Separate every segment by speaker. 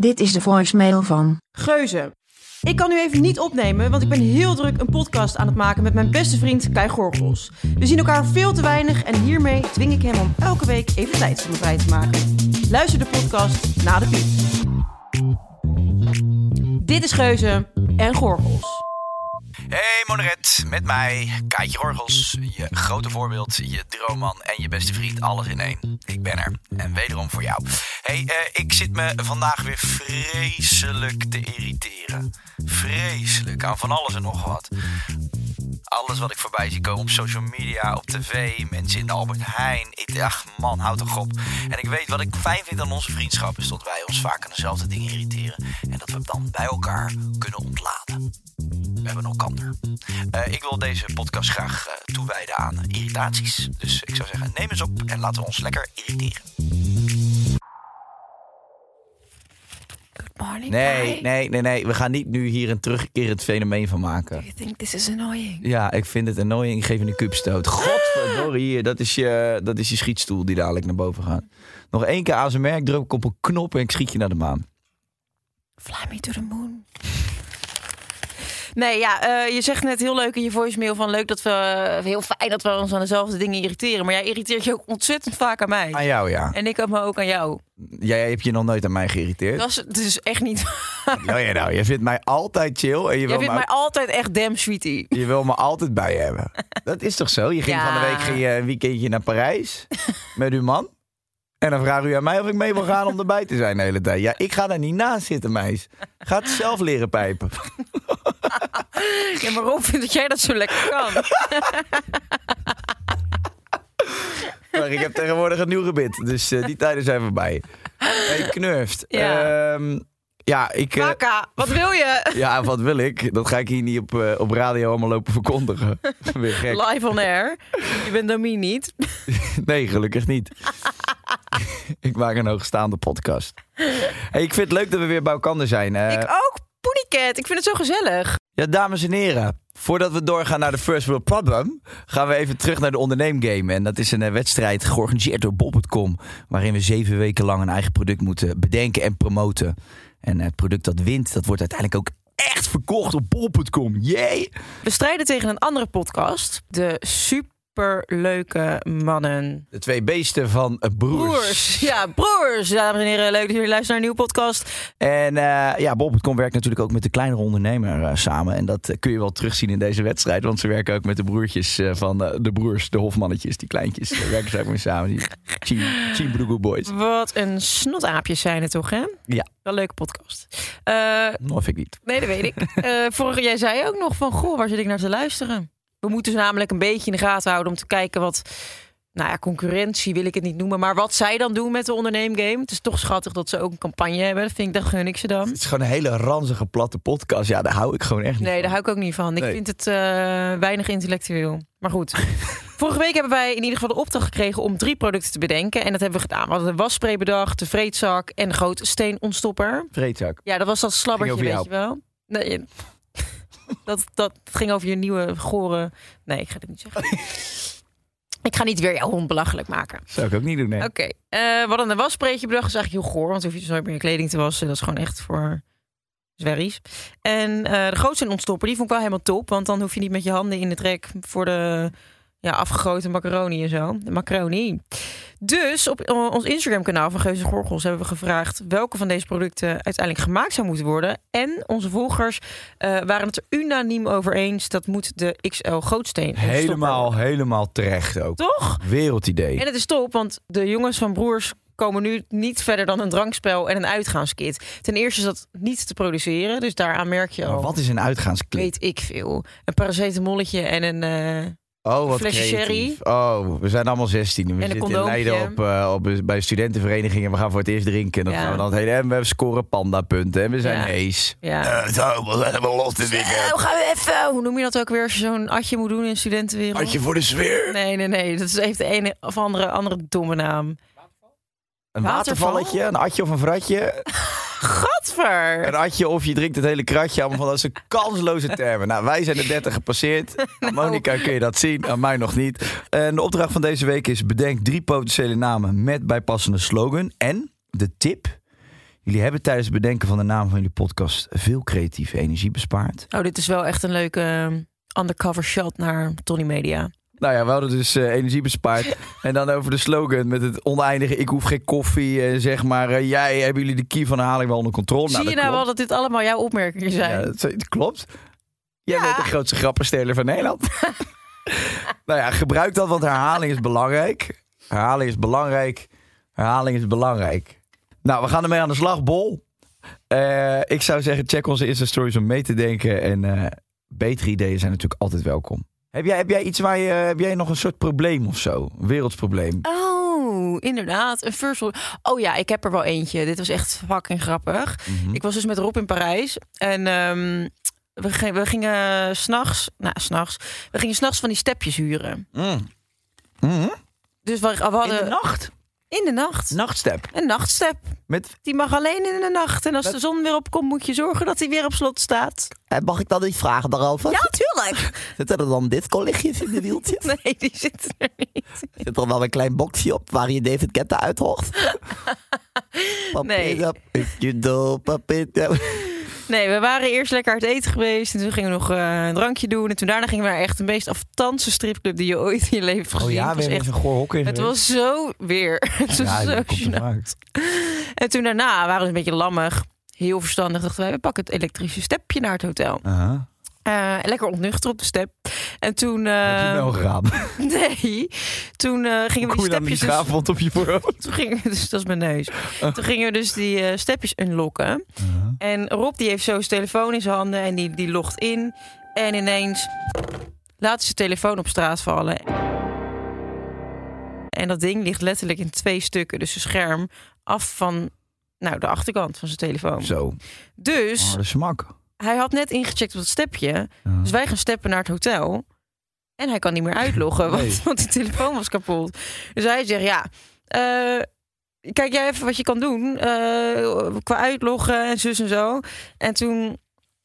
Speaker 1: Dit is de voicemail van
Speaker 2: Geuze. Ik kan nu even niet opnemen, want ik ben heel druk een podcast aan het maken met mijn beste vriend Kai Gorgels. We zien elkaar veel te weinig en hiermee dwing ik hem om elke week even tijd voor me vrij te maken. Luister de podcast na de piep. Dit is Geuze en Gorgels.
Speaker 3: Hey Monoret, met mij, Kaatje Orgels. Je grote voorbeeld, je droomman en je beste vriend, alles in één. Ik ben er en wederom voor jou. Hey, eh, ik zit me vandaag weer vreselijk te irriteren. Vreselijk aan van alles en nog wat. Alles wat ik voorbij zie komen op social media, op tv, mensen in de Albert Heijn. Ik, ach man, houd toch op. En ik weet wat ik fijn vind aan onze vriendschap is dat wij ons vaak aan dezelfde dingen irriteren. En dat we dan bij elkaar kunnen ontladen. We hebben elkander. Eh ik wil deze podcast graag eh, toewijden aan irritaties. Dus ik zou zeggen, neem eens op en laten we ons lekker irriteren.
Speaker 4: Good morning.
Speaker 3: Nee,
Speaker 4: Kai.
Speaker 3: nee, nee, nee. We gaan niet nu hier een terugkerend fenomeen van maken.
Speaker 4: You think this is annoying?
Speaker 3: Ja, ik vind het annoying. Ik geef je een kubstoot. Godverdorie, hier. Dat is, je, dat is je schietstoel die dadelijk naar boven gaat. Nog één keer aan zijn merk, druk ik op een knop en ik schiet je naar de maan.
Speaker 4: Fly me to the moon.
Speaker 2: Nee, ja, eh, je zegt net heel leuk in je voicemail van leuk dat we heel fijn dat we ons aan dezelfde dingen irriteren. Maar jij irriteert je ook ontzettend vaak aan mij.
Speaker 3: Aan jou, ja.
Speaker 2: En ik ook me ook aan jou.
Speaker 3: Jij hebt je nog nooit aan mij geïrriteerd.
Speaker 2: Dat is dus echt niet.
Speaker 3: Nou ja, nou, je vindt mij altijd chill en je
Speaker 2: Jij
Speaker 3: wil
Speaker 2: vindt
Speaker 3: me
Speaker 2: mij altijd echt damn sweetie.
Speaker 3: Je wil me altijd bij je hebben. Dat is toch zo? Je ging
Speaker 2: Ja.
Speaker 3: van de week ging je een weekendje naar Parijs met uw man. En dan vraagt u aan mij of ik mee wil gaan om erbij te zijn de hele tijd. Ja, ik ga daar niet naast zitten, meis. Ga het zelf leren pijpen.
Speaker 2: Ja, maar Rob vindt dat jij dat zo lekker kan.
Speaker 3: Maar ik heb tegenwoordig een nieuw gebit, dus eh, die tijden zijn voorbij. Hey, knurft.
Speaker 2: Ja.
Speaker 3: Ehm, ja, ik... eh,
Speaker 2: Kaka, wat wil je?
Speaker 3: ja, wat wil ik? Dat ga ik hier niet op, eh, op radio allemaal lopen verkondigen. Weer gek.
Speaker 2: Live on air. Je bent Domie niet.
Speaker 3: Nee, gelukkig niet. ik maak een hoogstaande podcast. Hey, ik vind het leuk dat we weer bij elkaar zijn. Eh,
Speaker 2: ik ook. Poeniket, ik vind het zo gezellig.
Speaker 3: Ja, dames en heren. Voordat we doorgaan naar de First World Problem, gaan we even terug naar de onderneemgame. En dat is een eh, wedstrijd georganiseerd door Bob.com, waarin we zeven weken lang een eigen product moeten bedenken en promoten. En eh, het product dat wint, dat wordt uiteindelijk ook echt verkocht op Bob.com. Jee!
Speaker 2: We strijden tegen een andere podcast. De superleuke mannen.
Speaker 3: De twee beesten van eh, broers.
Speaker 2: Broers. Ja, broers. Dames en heren, leuk dat jullie luisteren naar een nieuwe podcast.
Speaker 3: En eh, ja, Bob.com werkt natuurlijk ook met de kleinere ondernemer eh, samen. En dat eh, kun je wel terugzien in deze wedstrijd. Want ze werken ook met de broertjes eh, van eh, de broers, de hofmannetjes, die kleintjes. Daar werken ze ook mee samen. Die Team, team Broegoe Boys.
Speaker 2: Wat een snotaapjes zijn het toch, hè?
Speaker 3: Ja.
Speaker 2: Wel een leuke podcast. Eh,
Speaker 3: Of Nou, ik niet.
Speaker 2: nee, dat weet ik. Eh vorige, jij zei ook nog van, goh, waar zit ik naar te luisteren? We moeten ze namelijk een beetje in de gaten houden om te kijken wat... Nou ja, concurrentie wil ik het niet noemen. Maar wat zij dan doen met de onderneemgame. Het is toch schattig dat ze ook een campagne hebben. Dat vind ik, dat gun ik ze dan.
Speaker 3: Het is gewoon een hele ranzige, platte podcast. Ja, daar hou ik gewoon echt niet
Speaker 2: Nee,
Speaker 3: van.
Speaker 2: daar hou ik ook niet van. Ik
Speaker 3: Nee.
Speaker 2: vind het eh, weinig intellectueel. Maar goed. Vorige week hebben wij in ieder geval de opdracht gekregen om drie producten te bedenken. En dat hebben we gedaan. We hadden de wasspray bedacht, de vreedzak en de grote steenontstopper.
Speaker 3: Vreedzak.
Speaker 2: Ja, dat was dat slabbertje,
Speaker 3: Ging
Speaker 2: weet
Speaker 3: over
Speaker 2: je wel. Nee, je- dat, dat ging over je nieuwe gore... Nee, ik ga dit niet zeggen. ik ga niet weer jouw hond belachelijk maken.
Speaker 3: Zou ik ook niet doen, nee.
Speaker 2: Oké, eh, we hadden een waspreetje bedacht. Dat is eigenlijk heel goor, want dan hoef je dus nooit meer je kleding te wassen. Dat is gewoon echt voor zwerries. En eh, de grootste ontstopper, die vond ik wel helemaal top. Want dan hoef je niet met je handen in het rek voor de ja, afgegoten macaroni en zo. De macaroni. Dus op o- ons Instagram-kanaal van Geuze Gorgels hebben we gevraagd... welke van deze producten uiteindelijk gemaakt zou moeten worden. En onze volgers eh, waren het er unaniem over eens... dat moet de XL Gootsteen ontstopper
Speaker 3: Helemaal, helemaal terecht ook.
Speaker 2: Toch?
Speaker 3: Wereldidee.
Speaker 2: En het is top, want de jongens van Broers komen nu niet verder dan een drankspel en een uitgaanskit. Ten eerste is dat niet te produceren, dus daaraan merk je al.
Speaker 3: Maar wat is een uitgaansclip?
Speaker 2: Weet ik veel. Een paracetamolletje en een... eh,
Speaker 3: Oh, wat
Speaker 5: flesje
Speaker 3: creatief. Oh, we zijn allemaal 16. We
Speaker 5: een
Speaker 3: zitten in
Speaker 5: condoompje.
Speaker 3: Leiden op, eh, op, bij studentenverenigingen. We gaan voor het eerst drinken. En dan
Speaker 5: Ja.
Speaker 3: gaan we dan het hele... En we hebben scoren pandapunten. En we zijn
Speaker 5: Ja.
Speaker 3: hees.
Speaker 5: Ja.
Speaker 3: Eh, zo, we zijn helemaal los dit
Speaker 5: Eh,
Speaker 3: weekend.
Speaker 5: we gaan even, hoe noem je dat ook weer als je zo'n atje moet doen in de studentenwereld?
Speaker 3: Had je voor de sfeer.
Speaker 5: Nee, nee, nee. Dat is- heeft de ene of andere, andere domme naam.
Speaker 3: Een
Speaker 5: Waterval?
Speaker 3: watervalletje, een atje of een vratje.
Speaker 5: Gadver!
Speaker 3: Een atje of je drinkt het hele kratje. Allemaal van dat zijn kansloze termen. Nou, wij zijn de 30 gepasseerd.
Speaker 5: Nou.
Speaker 3: Aan Monika kun je dat zien, aan mij nog niet. En de opdracht van deze week is bedenk drie potentiële namen met bijpassende slogan. En de tip. Jullie hebben tijdens het bedenken van de naam van jullie podcast veel creatieve energie bespaard.
Speaker 5: Oh, dit is wel echt een leuke eh, undercover shot naar Tony Media.
Speaker 3: Nou ja, we hadden dus eh, energie bespaard. En dan over de slogan met het oneindige ik hoef geen koffie. En zeg maar, eh, jij, hebben jullie de key van de haling wel onder controle?
Speaker 5: Zie je
Speaker 3: dat
Speaker 5: nou wel
Speaker 3: klopt.
Speaker 5: dat dit allemaal jouw opmerkingen zijn?
Speaker 3: Ja, dat, dat klopt. Jij bent de grootste grappensteler van Nederland. nou ja, gebruik dat, want herhaling is belangrijk. Herhaling is belangrijk. Herhaling is belangrijk. Nou, we gaan ermee aan de slag, Bol. Eh, ik zou zeggen, check onze Insta-stories om mee te denken. En eh, betere ideeën zijn natuurlijk altijd welkom. Heb jij, heb jij iets waar je... Heb jij nog een soort probleem of zo? Een wereldsprobleem?
Speaker 5: Oh, inderdaad. Een first world- Oh ja, ik heb er wel eentje. Dit was echt fucking grappig.
Speaker 3: Mhm. Hm.
Speaker 5: Ik was dus met Rob in Parijs. En ehm, we, gingen we gingen s'nachts... Nou, s'nachts. We gingen s'nachts van die stepjes huren.
Speaker 3: Mm. Mhm.
Speaker 5: Dus we, we hadden...
Speaker 3: In de nacht?
Speaker 5: In de nacht.
Speaker 3: Nachtstep.
Speaker 5: Een nachtstep.
Speaker 3: Met,
Speaker 5: Die mag alleen in de nacht. En als de zon weer opkomt, moet je zorgen dat hij weer op slot staat.
Speaker 3: eh, mag ik dan iets vragen daarover?
Speaker 5: Ja, tuurlijk.
Speaker 3: Zitten er dan disco-lichtjes in de wieltjes?
Speaker 5: Nee, die zit er niet.
Speaker 3: zit er wel een klein boxje op waar je David Guetta uit hoort.
Speaker 5: Nee.
Speaker 3: Papita, papito, papita.
Speaker 5: Nee, we waren eerst lekker uit eten geweest. En toen gingen we nog eh, een drankje doen. En toen daarna gingen we naar echt de meest aftandse stripclub die je ooit in je leven hebt gezien.
Speaker 3: Oh ja,
Speaker 5: Het
Speaker 3: we
Speaker 5: was
Speaker 3: hebben
Speaker 5: echt-
Speaker 3: een goor hok in.
Speaker 5: Het was zo weer. Het was
Speaker 3: ja,
Speaker 5: zo
Speaker 3: dat komt
Speaker 5: gênant.
Speaker 3: eruit.
Speaker 5: En toen daarna waren we een beetje lammig. Heel verstandig dachten wij, we pakken het elektrische stepje naar het hotel.
Speaker 3: Aha.
Speaker 5: Eh, lekker ontnuchter op de step. En toen...
Speaker 3: Heb je
Speaker 5: eh,
Speaker 3: wel gedaan?
Speaker 5: nee. Toen eh, gingen we
Speaker 3: Kom je
Speaker 5: die
Speaker 3: dan
Speaker 5: stepjes...
Speaker 3: niet
Speaker 5: dus-
Speaker 3: avond op je voorhoofd?
Speaker 5: toen gingen we dus, dat is mijn neus.
Speaker 3: Oh.
Speaker 5: Toen gingen we dus die eh, stepjes unlocken. En Rob die heeft zo zijn telefoon in zijn handen en die, die logt in. En ineens laat zijn telefoon op straat vallen. En dat ding ligt letterlijk in twee stukken. Dus zijn scherm af van nou, de achterkant van zijn telefoon.
Speaker 3: Zo,
Speaker 5: Dus
Speaker 3: harde Oh, smak.
Speaker 5: hij had net ingecheckt op het stepje.
Speaker 3: Ja.
Speaker 5: Dus wij gaan steppen naar het hotel. En hij kan niet meer uitloggen, want,
Speaker 3: Nee.
Speaker 5: want die telefoon was kapot. Dus hij zegt, ja, eh, kijk jij even wat je kan doen eh, qua uitloggen en zus en zo. En toen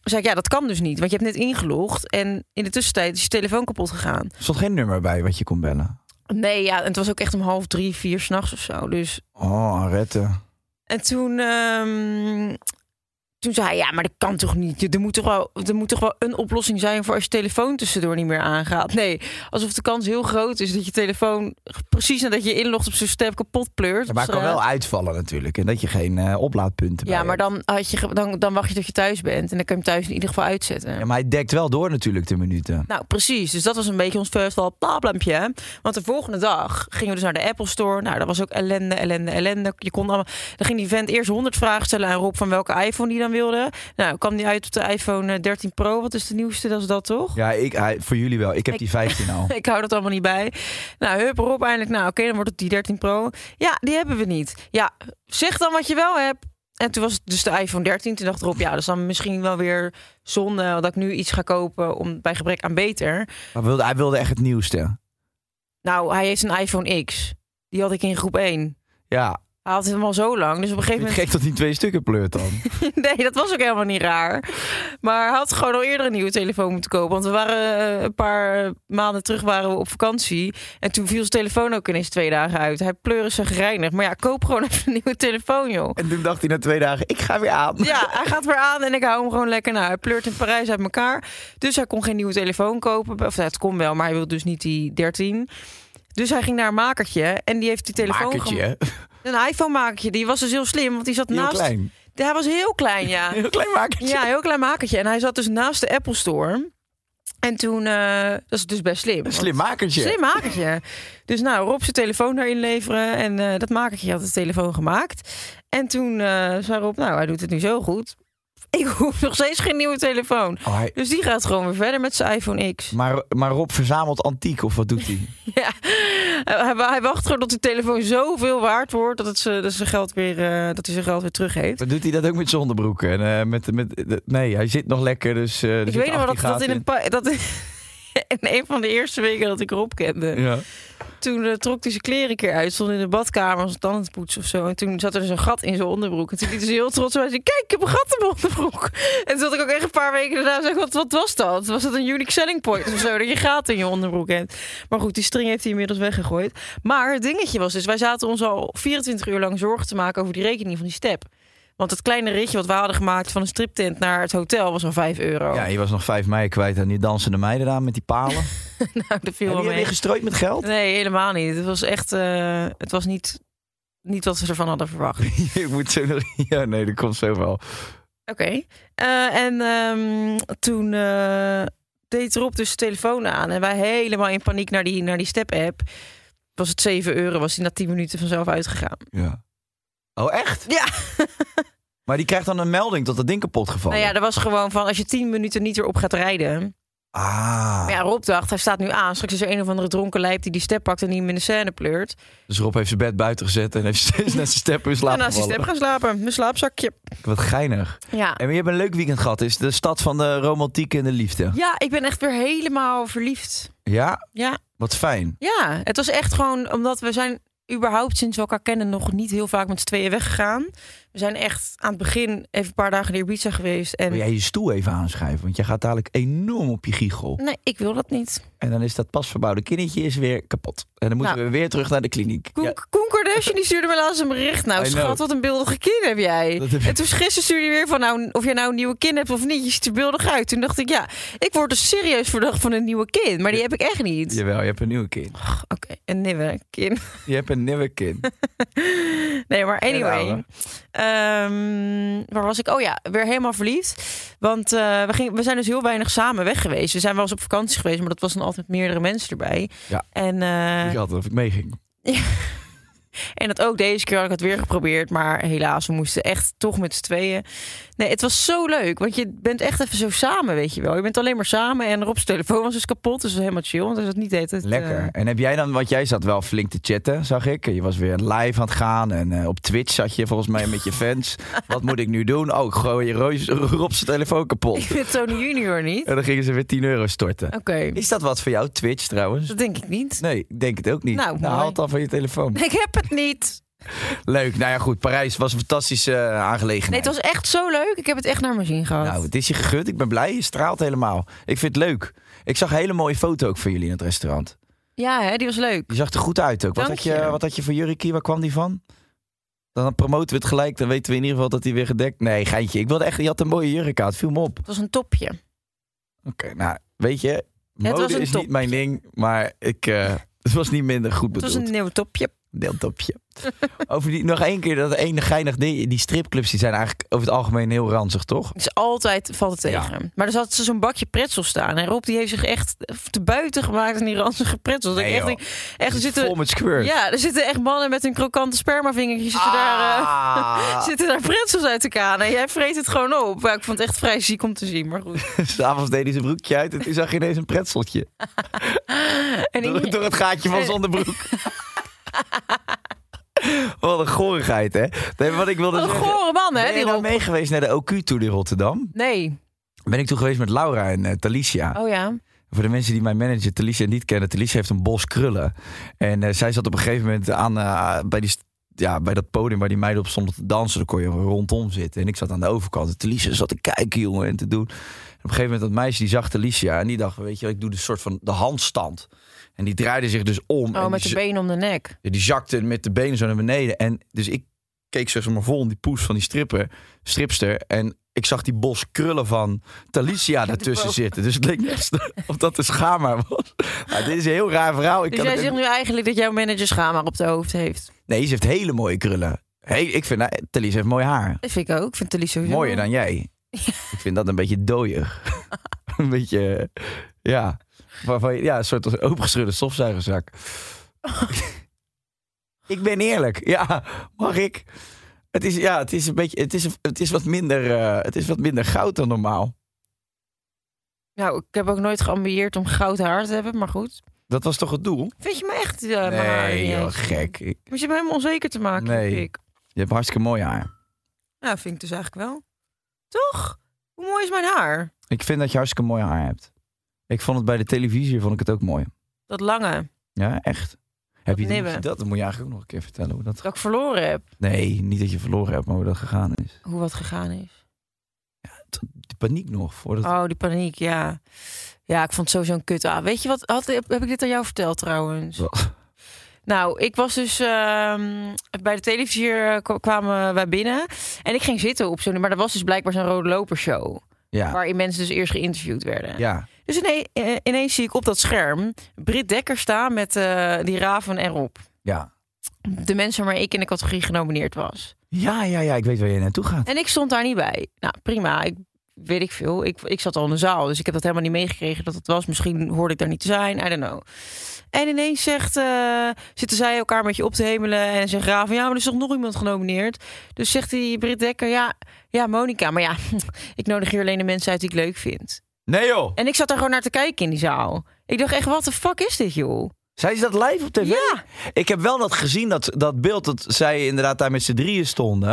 Speaker 5: zei ik, ja, dat kan dus niet, want je hebt net ingelogd. En in de tussentijd is je telefoon kapot gegaan.
Speaker 3: Er stond geen nummer bij wat je kon bellen.
Speaker 5: Nee, ja, en het was ook echt om half drie, vier s'nachts of zo. Dus
Speaker 3: Oh, retten.
Speaker 5: En toen, ehm, toen zei hij, ja, maar dat kan toch niet? Je- Er moet toch, wel, er moet toch wel een oplossing zijn voor als je telefoon tussendoor niet meer aangaat? Nee, alsof de kans heel groot is dat je telefoon precies nadat je inlogt op zo'n step kapot pleurt.
Speaker 3: Maar
Speaker 5: op
Speaker 3: het kan
Speaker 5: straat.
Speaker 3: wel uitvallen natuurlijk. En dat je geen eh, oplaadpunten
Speaker 5: eh, Ja,
Speaker 3: bij
Speaker 5: maar
Speaker 3: hebt.
Speaker 5: dan, had je, ge- dan, dan wacht je tot je thuis bent en dan kan je hem thuis in ieder geval uitzetten.
Speaker 3: Ja, maar hij dekt wel door natuurlijk de minuten.
Speaker 5: Nou, precies. Dus dat was een beetje ons first wel problempje. Want de volgende dag gingen we dus naar de Apple Store. Nou, dat was ook ellende, ellende, ellende. Je kon allemaal... Dan ging die vent eerst 100 vragen stellen aan Rob van welke iPhone die dan wilde. Nou, kwam die uit op de iPhone eh, 13 Pro. Wat is de nieuwste? Dat is dat toch?
Speaker 3: Ja, ik, hij- voor jullie wel. Ik heb die 15 al.
Speaker 5: Ik hou dat allemaal niet bij. Nou, hup, Rob eindelijk. Nou, oké, dan wordt het die 13 Pro. Ja, die hebben we niet. Ja, zeg dan wat je wel hebt. En toen was het dus de iPhone 13. Toen dacht Rob, ja, dat is dan misschien wel weer zonde... dat ik nu iets ga kopen om, bij gebrek aan beter.
Speaker 3: Maar wilde, hij wilde echt het nieuwste.
Speaker 5: Nou, hij heeft een iPhone X. Die had ik in groep 1.
Speaker 3: Ja,
Speaker 5: Hij had hem al zo lang. Dus op
Speaker 3: Vind
Speaker 5: een gegeven
Speaker 3: je
Speaker 5: moment.
Speaker 3: het gek dat hij twee stukken pleurt dan?
Speaker 5: Nee, dat was ook helemaal niet raar. Maar hij had gewoon al eerder een nieuwe telefoon moeten kopen. Want we waren eh, een paar maanden terug waren we op vakantie. En toen viel zijn telefoon ook ineens twee dagen uit. Hij pleuren zijn gereinigd. Maar ja, koop gewoon even een nieuwe telefoon, joh.
Speaker 3: En toen dacht hij na twee dagen, ik ga weer aan.
Speaker 5: Ja, hij gaat weer aan en ik hou hem gewoon lekker. Nou, hij pleurt in Parijs uit elkaar. Dus hij kon geen nieuwe telefoon kopen. Of nou, het kon wel, maar hij wilde dus niet die 13. Dus hij ging naar een makertje en die heeft die telefoon
Speaker 3: Makertje,
Speaker 5: gemaakt.
Speaker 3: hè?
Speaker 5: Een iPhone-makertje, die was dus heel slim, want die zat
Speaker 3: Heel
Speaker 5: naast...
Speaker 3: klein.
Speaker 5: Ja, Hij was heel klein, ja.
Speaker 3: Heel klein makertje.
Speaker 5: ja, heel klein makertje. En hij zat dus naast de Apple Store. En toen, eh, dat is dus best slim.
Speaker 3: Een
Speaker 5: want-
Speaker 3: slim makertje.
Speaker 5: Slim makertje. Dus nou, Rob zijn telefoon daarin leveren. En eh, dat makertje had de telefoon gemaakt. En toen eh, zei Rob, nou, hij doet het nu zo goed. Ik hoef nog steeds geen nieuwe telefoon.
Speaker 3: Oh, hij-
Speaker 5: Dus die gaat gewoon weer verder met zijn iPhone X.
Speaker 3: maar, maar Rob verzamelt antiek, of wat doet hij?
Speaker 5: Ja. Hij, hij wacht gewoon tot die telefoon zoveel waard wordt dat, het ze, dat, zijn geld weer, eh, dat hij zijn geld weer terug heeft.
Speaker 3: Maar doet hij dat ook met zonderbroeken? En, eh, met, met, de- nee, hij zit nog lekker, dus... eh, er
Speaker 5: Ik
Speaker 3: zitten
Speaker 5: weet nog wel dat, dat
Speaker 3: aggregaten
Speaker 5: in een pa- dat in een van de eerste weken dat ik Rob kende,
Speaker 3: Ja.
Speaker 5: toen eh, trok hij zijn kleren een keer uit, stond in de badkamer als tanden te poetsen of zo. En toen zat er dus een gat in zijn onderbroek. En toen liet hij ze heel trots uit. Hij zei, Kijk, ik heb een gat in mijn onderbroek. En toen had ik ook echt een paar weken daarna gezegd, wat, wat was dat? Was dat een unique selling point of zo? Dat je gat in je onderbroek hebt. Maar goed, die string heeft hij inmiddels weggegooid. Maar het dingetje was dus, wij zaten ons al 24 uur lang zorgen te maken over die rekening van die step. Want het kleine ritje wat we hadden gemaakt van een striptent naar het hotel was al 5 euro.
Speaker 3: ja, je was nog 5 mei kwijt aan die dansende meiden daar met die palen.
Speaker 5: Nou, dat
Speaker 3: Heb
Speaker 5: viel wel
Speaker 3: je
Speaker 5: mee.
Speaker 3: weer gestrooid met geld?
Speaker 5: Nee, helemaal niet. Het was echt, eh, het was niet, niet wat we ervan hadden verwacht. Oké.
Speaker 3: ik moet zo nog... Ja, nee, dat komt zo wel.
Speaker 5: Eh, en ehm, toen eh, deed Rob dus de telefoon aan en wij helemaal in paniek naar die, naar die step-app. Was het 7 euro, was die na 10 minuten vanzelf uitgegaan.
Speaker 3: Ja. Oh, echt?
Speaker 5: Ja.
Speaker 3: Maar die krijgt dan een melding dat dat ding kapot gevallen
Speaker 5: Nou ja, er was gewoon van als je 10 minuten niet erop gaat rijden.
Speaker 3: Ah.
Speaker 5: Maar ja, Rob dacht, hij staat nu aan. Straks is er een of andere dronken lijp die die step pakt en die hem in de scène pleurt.
Speaker 3: Dus Rob heeft zijn bed buiten gezet en heeft steeds net zijn step in slaap
Speaker 5: en naast die step
Speaker 3: gevallen.
Speaker 5: gaan slapen, mijn slaapzakje.
Speaker 3: Wat geinig.
Speaker 5: Ja.
Speaker 3: En je hebt een leuk weekend gehad. Is de stad van de romantiek en de liefde.
Speaker 5: ja, ik ben echt weer helemaal verliefd.
Speaker 3: Ja?
Speaker 5: Ja,
Speaker 3: Wat fijn.
Speaker 5: Ja, het was echt gewoon omdat we zijn überhaupt sinds we elkaar kennen nog niet heel vaak met z'n tweeën weggegaan. We zijn echt aan het begin even een paar dagen in Ibiza geweest. En
Speaker 3: Wil Oh, jij je stoel even aanschuiven? Want jij gaat dadelijk enorm op je giegel.
Speaker 5: nee, ik wil dat niet.
Speaker 3: En dan is dat pas verbouwde kindertje is weer kapot. En dan moeten
Speaker 5: Nou.
Speaker 3: we weer terug naar de kliniek.
Speaker 5: Koen,
Speaker 3: Ja,
Speaker 5: Koen Kardashian die stuurde me laatst een bericht. Nou
Speaker 3: I
Speaker 5: schat,
Speaker 3: know.
Speaker 5: wat een beeldige kin heb jij.
Speaker 3: Dat heb ik.
Speaker 5: En toen gisteren stuurde hij weer van nou, of jij nou een nieuwe kin hebt of niet. Je ziet er beeldig uit. Toen dacht ik ja, ik word dus serieus verdacht van een nieuwe kin. Maar die heb ik echt niet.
Speaker 3: Jawel, je hebt een nieuwe kind.
Speaker 5: Oké, een nieuwe kin.
Speaker 3: Je hebt een nieuwe kind.
Speaker 5: Nee, maar
Speaker 3: En ouwe.
Speaker 5: anyway. Ehm, waar was ik? Oh ja, weer helemaal verliefd. Want eh, we, gingen, we zijn dus heel weinig samen weg geweest. We zijn wel eens op vakantie geweest, maar dat was dan altijd meerdere mensen erbij.
Speaker 3: Ja.
Speaker 5: En,
Speaker 3: Ik
Speaker 5: eh,
Speaker 3: had of ik meeging.
Speaker 5: en dat ook deze keer had ik het weer geprobeerd. Maar helaas, we moesten echt toch met z'n tweeën. Nee, het was zo leuk. Want je bent echt even zo samen, weet je wel. Je bent alleen maar samen. En Rob's telefoon was dus kapot. Dus dat was helemaal chill. Want hij zat niet deed het.
Speaker 3: Lekker. En heb jij dan, want jij zat wel flink te chatten, zag ik. Je was weer live aan het gaan en eh, op Twitch zat je volgens mij met je fans. Wat moet ik nu doen? Oh, ik gooi je Roos- Rob's telefoon kapot.
Speaker 5: ik vind eh, Tony Junior niet.
Speaker 3: En dan gingen ze weer 10 euro storten.
Speaker 5: Oké,
Speaker 3: Is dat wat voor jou, Twitch trouwens?
Speaker 5: dat denk ik niet.
Speaker 3: Nee, ik denk het ook niet.
Speaker 5: Nou, mooi.
Speaker 3: haal het dan van je telefoon.
Speaker 5: Ik heb het niet.
Speaker 3: Leuk. Nou ja, goed. Parijs was een fantastische eh,
Speaker 5: Nee,
Speaker 3: aangelegenheid.
Speaker 5: het was echt zo leuk. Ik heb het echt naar mijn zin gehad.
Speaker 3: Nou, het is je gegund. Ik ben blij. Je straalt helemaal. Ik vind het leuk. Ik zag een hele mooie foto ook van jullie in het restaurant.
Speaker 5: ja, hè, die was leuk.
Speaker 3: Je zag er goed uit ook. Wat,
Speaker 5: Dank
Speaker 3: had je,
Speaker 5: je.
Speaker 3: wat had je voor jurkie? Waar kwam die van? Dan promoten we het gelijk. Dan weten we in ieder geval dat hij weer gedekt... Nee, geintje. Ik wilde echt... Je had een mooie jurk aan. Het viel me op.
Speaker 5: Het was een topje.
Speaker 3: Oké, nou, weet je...
Speaker 5: was
Speaker 3: Mode
Speaker 5: een
Speaker 3: is
Speaker 5: top.
Speaker 3: niet mijn ding. Maar ik... eh, het was niet minder goed
Speaker 5: Het
Speaker 3: bedoeld.
Speaker 5: was een nieuw topje.
Speaker 3: Deeltopje. over die, nog één keer dat ene geinig ding. Die stripclubs die zijn eigenlijk over het algemeen heel ranzig, toch?
Speaker 5: Het is altijd valt het
Speaker 3: Ja.
Speaker 5: tegen. Maar er zat zo'n bakje pretzels staan. En Rob die heeft zich echt te buiten gemaakt aan die ranzige pretzels. Dat ik
Speaker 3: Nee,
Speaker 5: echt,
Speaker 3: joh.
Speaker 5: denk, echt
Speaker 3: Vol
Speaker 5: er zitten,
Speaker 3: met squirt.
Speaker 5: ja, er zitten echt mannen met hun krokante spermavingertjes zitten daar... eh,
Speaker 3: Ah,
Speaker 5: Zitten daar pretzels uit te kanen. Jij vreet het gewoon op. Ja, ik vond het echt vrij ziek om te zien, maar goed.
Speaker 3: S'avonds deed hij zijn broekje uit en toen zag je ineens een pretseltje.
Speaker 5: En
Speaker 3: Door,
Speaker 5: ik-
Speaker 3: door het gaatje van zonder broek. Wat een gorigheid, hè? Nee, wat ik wilde
Speaker 5: Wat een
Speaker 3: zeggen.
Speaker 5: gore man, hè,
Speaker 3: ben je
Speaker 5: die
Speaker 3: nou
Speaker 5: Rob.
Speaker 3: mee geweest naar de OQ-tour in Rotterdam?
Speaker 5: Nee.
Speaker 3: Ben ik toen geweest met Laura en eh, Talicia.
Speaker 5: Oh ja.
Speaker 3: Voor de mensen die mijn manager Talicia niet kennen, Talicia heeft een bos krullen. En eh, zij zat op een gegeven moment aan, eh, bij, die, st- ja, bij dat podium waar die meiden op stonden te dansen. Dan kon je rondom zitten. En ik zat aan de overkant. En Talicia zat te kijken, jongen, en te doen. En op een gegeven moment dat meisje die zag Talicia en die dacht, weet je, wel, ik doe de soort van de handstand. En die draaide zich dus om. en
Speaker 5: Oh,
Speaker 3: die
Speaker 5: met de
Speaker 3: z-
Speaker 5: benen om de nek.
Speaker 3: ja, Die zakte met de benen zo naar beneden. En dus ik keek zeg maar vol in die poes van die stripper, stripster. En ik zag die bos krullen van Talicia daartussen
Speaker 5: boven.
Speaker 3: zitten. Dus het leek net of dat de schaamhaar was. Nou, dit is een heel raar verhaal. Ik
Speaker 5: Dus
Speaker 3: kan
Speaker 5: jij
Speaker 3: het
Speaker 5: zegt
Speaker 3: ook-
Speaker 5: nu eigenlijk dat jouw manager schaamhaar op de hoofd heeft.
Speaker 3: Nee, ze heeft hele mooie krullen. Hey, ik vind, nou, Talicia heeft mooi haar.
Speaker 5: Dat vind ik ook. Ik vind Thalys sowieso.
Speaker 3: Mooier dan jij. Ik vind dat een beetje dooier. een beetje, eh, ja, waarvan, je- ja, een soort als opengeschudde stofzuigerzak. ik ben eerlijk, ja, mag ik? Het is, ja, het is een beetje, het is, het is wat minder, eh, het is wat minder goud dan normaal.
Speaker 5: Nou, ik heb ook nooit geambieerd om goud haar te hebben, maar goed.
Speaker 3: Dat was toch het doel?
Speaker 5: Vind je me echt... eh, mijn haar
Speaker 3: nee,
Speaker 5: niet
Speaker 3: joh,
Speaker 5: eens?
Speaker 3: gek. Ik-
Speaker 5: Maar je me helemaal onzeker te maken,
Speaker 3: Nee.
Speaker 5: vind ik.
Speaker 3: Je hebt hartstikke mooi haar.
Speaker 5: Nou, vind ik dus eigenlijk wel. Toch? Hoe mooi is mijn haar?
Speaker 3: Ik vind dat je hartstikke mooi haar hebt. Ik vond het bij de televisie vond ik het ook mooi.
Speaker 5: Dat lange,
Speaker 3: Ja, echt. Heb je
Speaker 5: nibben.
Speaker 3: die, dat? Dan moet je eigenlijk ook nog een keer vertellen hoe dat. ge-
Speaker 5: dat ik verloren heb.
Speaker 3: Nee, niet dat je verloren hebt, maar hoe dat gegaan is.
Speaker 5: Hoe wat gegaan is.
Speaker 3: De paniek nog voordat.
Speaker 5: Oh, die paniek, ja. Ja, ik vond het sowieso een kut aan. Weet je wat, had, heb ik dit aan jou verteld trouwens?
Speaker 3: Wat?
Speaker 5: Nou, ik was dus ehm, bij de televisie hier, eh, k- kwamen wij binnen. En ik ging zitten op zo'n... Maar er was dus blijkbaar zo'n rode lopershow.
Speaker 3: Ja.
Speaker 5: Waarin mensen dus eerst geïnterviewd werden.
Speaker 3: Ja.
Speaker 5: Dus ine- eh, ineens zie ik op dat scherm Britt Dekker staan met eh, die Raven en Rob.
Speaker 3: Ja.
Speaker 5: De mensen waarmee ik in de categorie genomineerd was.
Speaker 3: Ja, ja, ja. Ik weet waar je naartoe gaat.
Speaker 5: En ik stond daar niet bij. Nou, prima. Ik weet ik veel. Ik, ik zat al in de zaal, dus ik heb dat helemaal niet meegekregen dat het was. Misschien hoorde ik daar niet te zijn. I don't know. En ineens zegt, eh, zitten zij elkaar een beetje op te hemelen. En zegt Raven, ja, maar er is toch nog iemand genomineerd. Dus zegt die Britt Dekker, ja, ja, Monica. Maar ja, ik nodig hier alleen de mensen uit die ik leuk vind.
Speaker 3: Nee joh.
Speaker 5: En ik zat daar gewoon naar te kijken in die zaal. Ik dacht echt, wat de fuck is dit, joh?
Speaker 3: Zij is dat live op tv?
Speaker 5: Ja.
Speaker 3: Ik heb wel dat gezien, dat, dat beeld dat zij inderdaad daar met z'n drieën stonden.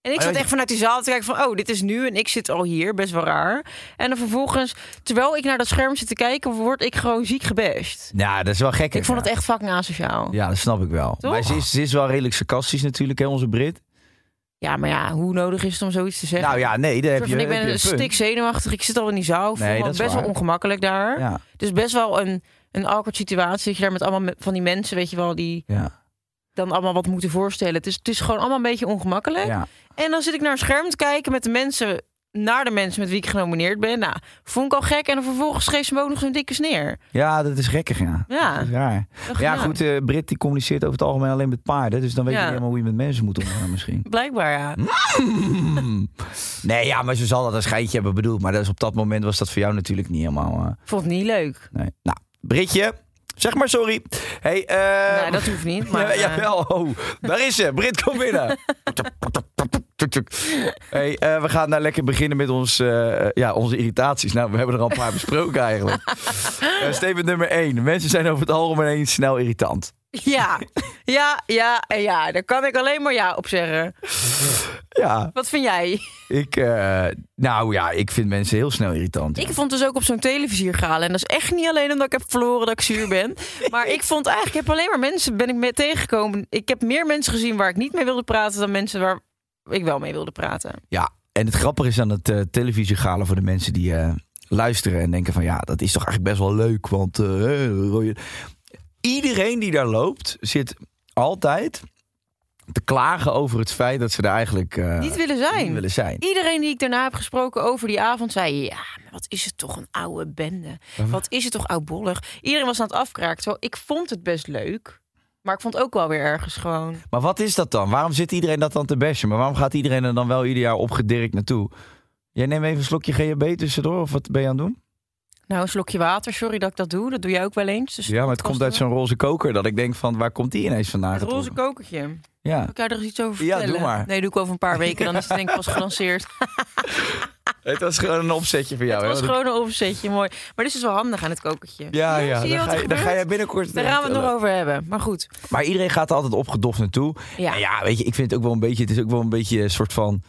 Speaker 5: En
Speaker 3: Maar
Speaker 5: ik zat
Speaker 3: Oh, ja,
Speaker 5: echt vanuit die zaal te kijken van, oh, dit is nu en ik zit al hier, best wel raar. En dan vervolgens, terwijl ik naar dat scherm zit te kijken, word ik gewoon ziek gebashed.
Speaker 3: Ja, dat is wel gek.
Speaker 5: Ik vond het echt fucking asociaal. Ja,
Speaker 3: Ja, dat snap ik wel.
Speaker 5: Toch?
Speaker 3: Maar ze is, ze is wel redelijk sarcastisch natuurlijk, hè, onze Brit.
Speaker 5: maar ja, hoe nodig is het om zoiets te zeggen?
Speaker 3: Nou ja, nee, daar
Speaker 5: Een
Speaker 3: heb
Speaker 5: soort
Speaker 3: je,
Speaker 5: van,
Speaker 3: heb
Speaker 5: ik ben
Speaker 3: je
Speaker 5: een
Speaker 3: punt.
Speaker 5: stik zenuwachtig, ik zit al in die zaal, ik voel
Speaker 3: Nee,
Speaker 5: me
Speaker 3: dat is
Speaker 5: best wel
Speaker 3: waar.
Speaker 5: ongemakkelijk daar.
Speaker 3: Ja,
Speaker 5: Dus best wel een, een awkward situatie, dat je daar met allemaal me- van die mensen, weet je wel, die
Speaker 3: ja,
Speaker 5: dan allemaal wat moeten voorstellen. Het is, het is gewoon allemaal een beetje ongemakkelijk.
Speaker 3: ja.
Speaker 5: En dan zit ik naar een scherm te kijken met de mensen, naar de mensen met wie ik genomineerd ben. Nou, vond ik al gek. En dan vervolgens geef ze me ook nog zo'n dikke sneer.
Speaker 3: Ja, dat is gekkig, ja.
Speaker 5: Ja,
Speaker 3: Dat is raar.
Speaker 5: dacht
Speaker 3: Ja,
Speaker 5: ik, nou,
Speaker 3: goed, eh, Brit die communiceert over het algemeen alleen met paarden. Dus dan weet
Speaker 5: Ja.
Speaker 3: je niet helemaal hoe je met mensen moet omgaan misschien.
Speaker 5: Blijkbaar, ja.
Speaker 3: Hm? nee, ja, maar ze zal dat een schijntje hebben bedoeld. Maar dat is, op dat moment was dat voor jou natuurlijk niet helemaal... eh,
Speaker 5: Vond het niet leuk.
Speaker 3: nee. Nou, Britje, zeg maar sorry. Hey, eh,
Speaker 5: nou, dat hoeft niet. Maar,
Speaker 3: ja,
Speaker 5: eh,
Speaker 3: jawel, oh, daar is ze. Brit, kom binnen. hey, eh, we gaan nou lekker beginnen met ons, eh, ja, onze irritaties. Nou, we hebben er al een paar besproken eigenlijk. Eh statement nummer 1. Mensen zijn over het algemeen snel irritant.
Speaker 5: ja, ja, ja, en ja. Daar kan ik alleen maar ja op zeggen.
Speaker 3: Ja,
Speaker 5: Wat vind jij?
Speaker 3: ik, eh, nou ja, ik vind mensen heel snel irritant.
Speaker 5: Ik vond dus ook op zo'n televisie gehalen. En dat is echt niet alleen omdat ik heb verloren dat ik zuur ben. Maar ik vond eigenlijk, ik heb alleen maar mensen ben ik mee tegengekomen. Ik heb meer mensen gezien waar ik niet mee wilde praten dan mensen waar ik wel mee wilde praten.
Speaker 3: Ja, en het grappige is aan het eh televisiegalen voor de mensen die eh, luisteren en denken van ja, dat is toch eigenlijk best wel leuk, want eh, rode- iedereen die daar loopt zit altijd te klagen over het feit dat ze er eigenlijk eh,
Speaker 5: Niet willen zijn.
Speaker 3: niet willen zijn.
Speaker 5: Iedereen die ik daarna heb gesproken over die avond zei... ja, maar wat is het toch een oude bende. Wat is het toch oudbollig. Iedereen was aan het afkraken. Terwijl ik vond het best leuk. Maar ik vond het ook wel weer ergens gewoon...
Speaker 3: Maar wat is dat dan? Waarom zit iedereen dat dan te bashen? Maar waarom gaat iedereen er dan wel ieder jaar opgedirkt naartoe? Jij neemt even een slokje GHB tussendoor of wat ben je aan het doen?
Speaker 5: Nou, een slokje water. Sorry dat ik dat doe. Dat doe jij ook wel eens. Dus
Speaker 3: Ja, maar het komt uit zo'n roze koker dat ik denk van waar komt die ineens vandaan?
Speaker 5: Het roze
Speaker 3: getrokken?
Speaker 5: kokertje. Kan
Speaker 3: Ja.
Speaker 5: ik jou er eens iets over
Speaker 3: Ja,
Speaker 5: vertellen?
Speaker 3: doe maar.
Speaker 5: Nee, doe ik over een paar weken. Dan is het denk ik pas gelanceerd.
Speaker 3: Het was gewoon een opzetje voor jou.
Speaker 5: Het
Speaker 3: hè?
Speaker 5: was
Speaker 3: Want
Speaker 5: gewoon een opzetje. Mooi. Maar dit is dus wel handig aan het kokertje.
Speaker 3: Ja, ja.
Speaker 5: zie je
Speaker 3: dan,
Speaker 5: wat
Speaker 3: ga
Speaker 5: er
Speaker 3: je, dan
Speaker 5: gebeurt?
Speaker 3: ga je binnenkort.
Speaker 5: Daar gaan we het nog
Speaker 3: vertellen.
Speaker 5: over hebben. Maar goed.
Speaker 3: Maar iedereen gaat er altijd opgedoft naartoe.
Speaker 5: Ja.
Speaker 3: Ja. ja, weet je, ik vind het ook wel een beetje. Het is ook wel een beetje een soort van.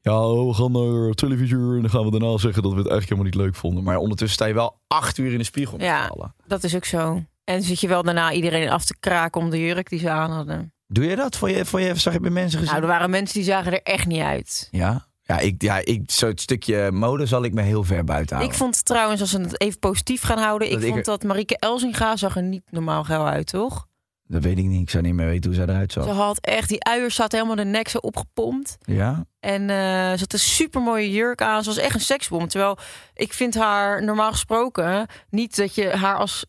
Speaker 3: Ja, oh, we gaan naar televisie en dan gaan we daarna zeggen dat we het eigenlijk helemaal niet leuk vonden. Maar ondertussen sta je wel acht uur in de spiegel. met
Speaker 5: Ja.
Speaker 3: z'n allen.
Speaker 5: Dat is ook zo. En zit je wel daarna iedereen af te kraken om de jurk die ze aan hadden.
Speaker 3: Doe je dat? Vond je, vond je, zag je bij mensen gezien?
Speaker 5: Nou, er waren mensen die zagen er echt niet uit.
Speaker 3: Ja. Ja, ik, ja ik, zo'n stukje mode zal ik me heel ver buiten
Speaker 5: Ik
Speaker 3: houden.
Speaker 5: vond trouwens, als we het even positief gaan houden...
Speaker 3: Nou. Dat
Speaker 5: ik
Speaker 3: ik
Speaker 5: vond
Speaker 3: er-
Speaker 5: dat Marieke Elzinga zag er niet normaal geil uit, toch?
Speaker 3: Dat weet ik niet. Ik zou niet meer weten hoe zij eruit
Speaker 5: Ze
Speaker 3: zag.
Speaker 5: had echt, die uiers zat helemaal de nek zo opgepompt.
Speaker 3: Ja?
Speaker 5: En eh, ze had een supermooie jurk aan. Ze was echt een seksbom. Terwijl ik vind haar normaal gesproken niet dat je haar als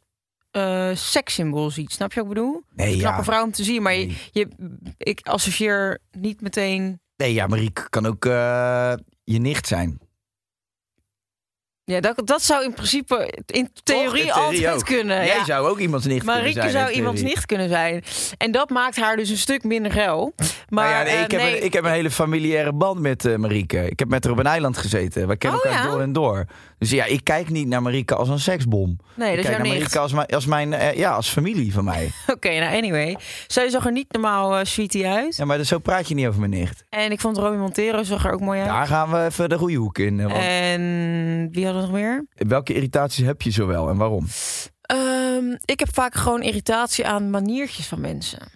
Speaker 5: eh sekssymbool ziet. Snap je wat ik bedoel?
Speaker 3: Nee,
Speaker 5: Een knappe
Speaker 3: ja.
Speaker 5: vrouw om te zien. Maar je-
Speaker 3: Nee.
Speaker 5: je, ik associeer niet meteen...
Speaker 3: Nee, ja, Marieke kan ook eh, je nicht zijn.
Speaker 5: Ja, dat, dat zou in principe, in theorie,
Speaker 3: in
Speaker 5: altijd
Speaker 3: ook.
Speaker 5: kunnen.
Speaker 3: Jij
Speaker 5: Eh, ja.
Speaker 3: zou ook iemands nicht kunnen
Speaker 5: Marieke
Speaker 3: zijn, eh, in
Speaker 5: zou iemands
Speaker 3: theorie.
Speaker 5: nicht kunnen zijn. En dat maakt haar dus een stuk minder geil. Maar
Speaker 3: Nou ja, nee,
Speaker 5: eh,
Speaker 3: ik, heb
Speaker 5: nee.
Speaker 3: een, ik heb een hele familiaire band met eh Marieke. Ik heb met haar op een eiland gezeten. We kennen
Speaker 5: Oh,
Speaker 3: elkaar
Speaker 5: ja?
Speaker 3: door en door. Dus ja, ik kijk niet naar Marieke als een seksbom. ik
Speaker 5: Nee, dat is
Speaker 3: kijk
Speaker 5: jouw
Speaker 3: naar
Speaker 5: nicht.
Speaker 3: Marieke als mijn, als mijn eh, ja, als familie van mij.
Speaker 5: Oké, nou anyway. Zij zag er niet normaal eh, sweetie uit.
Speaker 3: Ja, maar zo praat je niet over mijn nicht.
Speaker 5: En ik vond Romy Montero zag er ook mooi uit.
Speaker 3: Daar gaan we even de goede hoek in. eh, Want
Speaker 5: En wie had er nog meer?
Speaker 3: Welke irritaties heb je zo wel en waarom?
Speaker 5: Ehm, ik heb vaak gewoon irritatie aan maniertjes van mensen.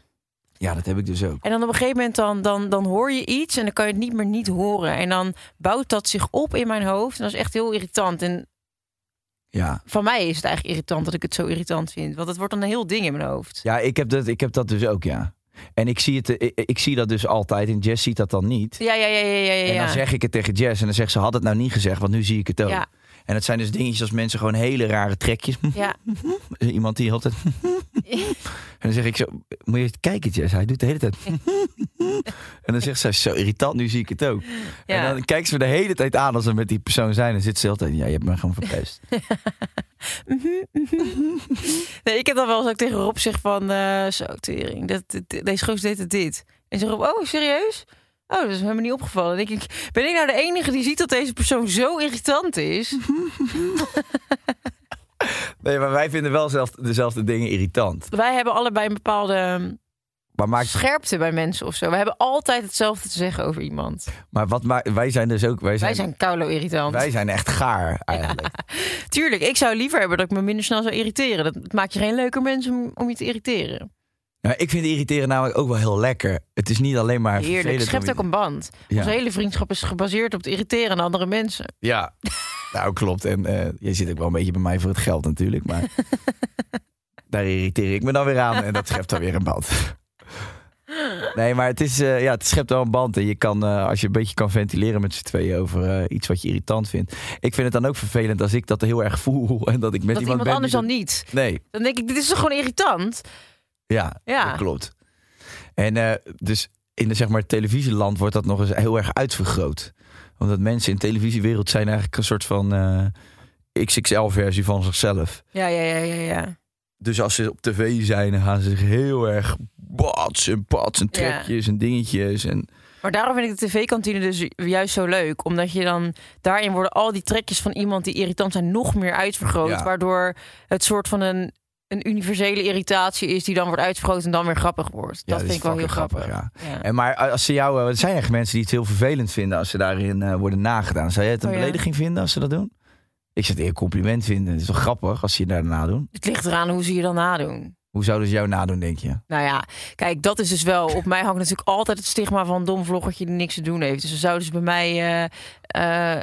Speaker 3: Ja, dat heb ik dus ook.
Speaker 5: En dan op een gegeven moment dan, dan, dan hoor je iets en dan kan je het niet meer niet horen. En dan bouwt dat zich op in mijn hoofd. En dat is echt heel irritant. En
Speaker 3: Ja.
Speaker 5: van mij is het eigenlijk irritant dat ik het zo irritant vind. Want het wordt dan een heel ding in mijn hoofd.
Speaker 3: Ja, ik heb dat, ik heb dat dus ook, ja. En ik zie, het, eh, ik, ik zie dat dus altijd. En Jess ziet dat dan niet.
Speaker 5: Ja, ja, ja, ja, ja. ja,
Speaker 3: En dan
Speaker 5: ja.
Speaker 3: zeg ik het tegen Jess. En dan zegt ze, had het nou niet gezegd, want nu zie ik het ook.
Speaker 5: Ja.
Speaker 3: En het zijn dus dingetjes als mensen gewoon hele rare trekjes.
Speaker 5: Ja.
Speaker 3: Iemand die altijd... en dan zeg ik zo, moet je eens kijken Jess, hij doet de hele tijd... en dan zegt zij, zo irritant, nu zie ik het ook.
Speaker 5: Ja.
Speaker 3: En dan kijkt ze me de hele tijd aan als we met die persoon zijn. En zit ze altijd, ja, je hebt me gewoon verpest.
Speaker 5: Mhm, Nee, ik heb dan wel eens ook tegen Rob zeg van... eh zo, tering, dat, dit- deze goos deed het dit. En ze Rob, oh, serieus? Oh, dat is me helemaal niet opgevallen. Dan denk ik, ben ik nou de enige die ziet dat deze persoon zo irritant is?
Speaker 3: nee, maar wij vinden wel zelf, dezelfde dingen irritant.
Speaker 5: Wij hebben allebei een bepaalde ehm,
Speaker 3: Maar, maakt,
Speaker 5: scherpte bij mensen of zo. We hebben altijd hetzelfde te zeggen over iemand.
Speaker 3: maar wat maakt, wij zijn dus ook... Wij zijn,
Speaker 5: Wij zijn koulo-irritant.
Speaker 3: wij zijn echt gaar, eigenlijk.
Speaker 5: Tuurlijk, ik zou liever hebben dat ik me minder snel zou irriteren. Dat dat maakt je geen leuker mensen om- om je te irriteren.
Speaker 3: Nou, ik vind irriteren namelijk ook wel heel lekker. Het is niet alleen maar
Speaker 5: Heerlijk,
Speaker 3: vervelend
Speaker 5: het schept
Speaker 3: om
Speaker 5: ook een band.
Speaker 3: Ja.
Speaker 5: Onze hele vriendschap is gebaseerd op het irriteren aan andere mensen.
Speaker 3: Ja, nou klopt. En eh je zit ook wel een beetje bij mij voor het geld natuurlijk. Maar daar irriteer ik me dan weer aan. En dat schept dan weer een band. Nee, maar het, is, eh, ja, het schept wel een band. En je kan, eh, als je een beetje kan ventileren met z'n tweeën over eh, iets wat je irritant vindt. Ik vind het dan ook vervelend als ik dat heel erg voel. En dat ik met iemand,
Speaker 5: dat iemand
Speaker 3: ben
Speaker 5: anders
Speaker 3: die
Speaker 5: dan niet.
Speaker 3: dat- Nee,
Speaker 5: Dan denk ik, dit is toch gewoon irritant?
Speaker 3: ja,
Speaker 5: Ja.
Speaker 3: dat klopt. En eh, dus in de, zeg maar, televisieland wordt dat nog eens heel erg uitvergroot. Omdat mensen in de televisiewereld zijn eigenlijk een soort van eh, XXL-versie van zichzelf.
Speaker 5: Ja, ja, ja, ja, ja.
Speaker 3: Dus als ze op tv zijn, dan gaan ze zich heel erg bats en pats en
Speaker 5: Ja.
Speaker 3: trekjes en dingetjes. En,
Speaker 5: Maar daarom vind ik de tv-kantine dus ju- juist zo leuk. Omdat je dan, daarin worden al die trekjes van iemand die irritant zijn nog meer uitvergroot.
Speaker 3: Ja.
Speaker 5: Waardoor het soort van een, een universele irritatie is die dan wordt uitvergroot en dan weer grappig wordt.
Speaker 3: Ja, dit
Speaker 5: dat vind
Speaker 3: is
Speaker 5: ik wel heel
Speaker 3: fucking
Speaker 5: grappig.
Speaker 3: grappig,
Speaker 5: Ja.
Speaker 3: en maar als ze jou, eh, er zijn echt mensen die het heel vervelend vinden als ze daarin eh, worden nagedaan. Zou jij het een
Speaker 5: Oh, ja.
Speaker 3: belediging vinden als ze dat doen? Ik zou het een compliment vinden. Het is toch grappig als ze je daarna doen?
Speaker 5: Het ligt eraan hoe ze je dan nadoen.
Speaker 3: Hoe zouden ze jou nadoen, denk je?
Speaker 5: Nou ja, kijk, dat is dus wel. Op mij hangt natuurlijk altijd het stigma van een dom vloggertje die niks te doen heeft. Dus ze zouden dus bij mij eh, eh,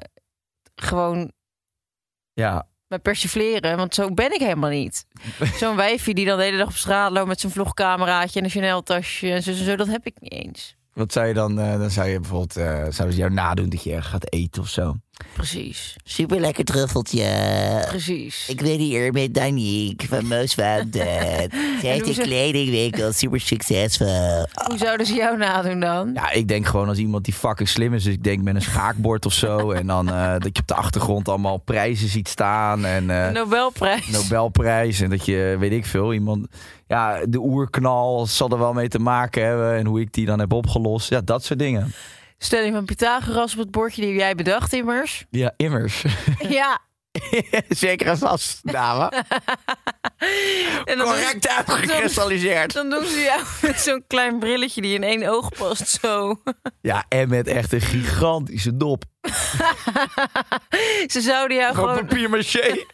Speaker 5: gewoon
Speaker 3: Ja,
Speaker 5: me persifleren, want zo ben ik helemaal niet. Zo'n wijfje die dan de hele dag op straat loopt met zijn vlogcameraatje en een Chanel-tasje en zo, zo, zo, dat heb ik niet eens.
Speaker 3: Wat zou je dan, eh, dan zou je bijvoorbeeld, eh, zouden ze jou nadoen dat je erg gaat eten of zo?
Speaker 5: Precies,
Speaker 6: Super lekker truffeltje.
Speaker 5: precies.
Speaker 6: Ik ben hier met Danique van Moos van Dent. Zij heeft
Speaker 5: hoe
Speaker 6: een
Speaker 5: ze-
Speaker 6: kledingwinkel, super succesvol.
Speaker 5: Hoe zouden ze jou nadoen dan?
Speaker 3: Ja, ik denk gewoon als iemand die fucking slim is. Dus ik denk met een schaakbord of zo. En dan eh, dat je op de achtergrond allemaal prijzen ziet staan. En eh,
Speaker 5: De Nobelprijs.
Speaker 3: Nobelprijs. En dat je, weet ik veel, iemand... Ja, de oerknal zal er wel mee te maken hebben. En hoe ik die dan heb opgelost. Ja, dat soort dingen.
Speaker 5: Stelling van Pythagoras op het bordje die jij bedacht immers.
Speaker 3: Ja, immers.
Speaker 5: Ja.
Speaker 3: Zeker als als dame.
Speaker 5: En dan doen ze-
Speaker 3: Correct uitgekristalliseerd.
Speaker 5: Dan doen ze jou met zo'n klein brilletje die in één oog past, zo.
Speaker 3: Ja, en met echt een gigantische dop.
Speaker 5: Ze zouden jou
Speaker 3: Gewoon
Speaker 5: gewoon...
Speaker 3: papier maché.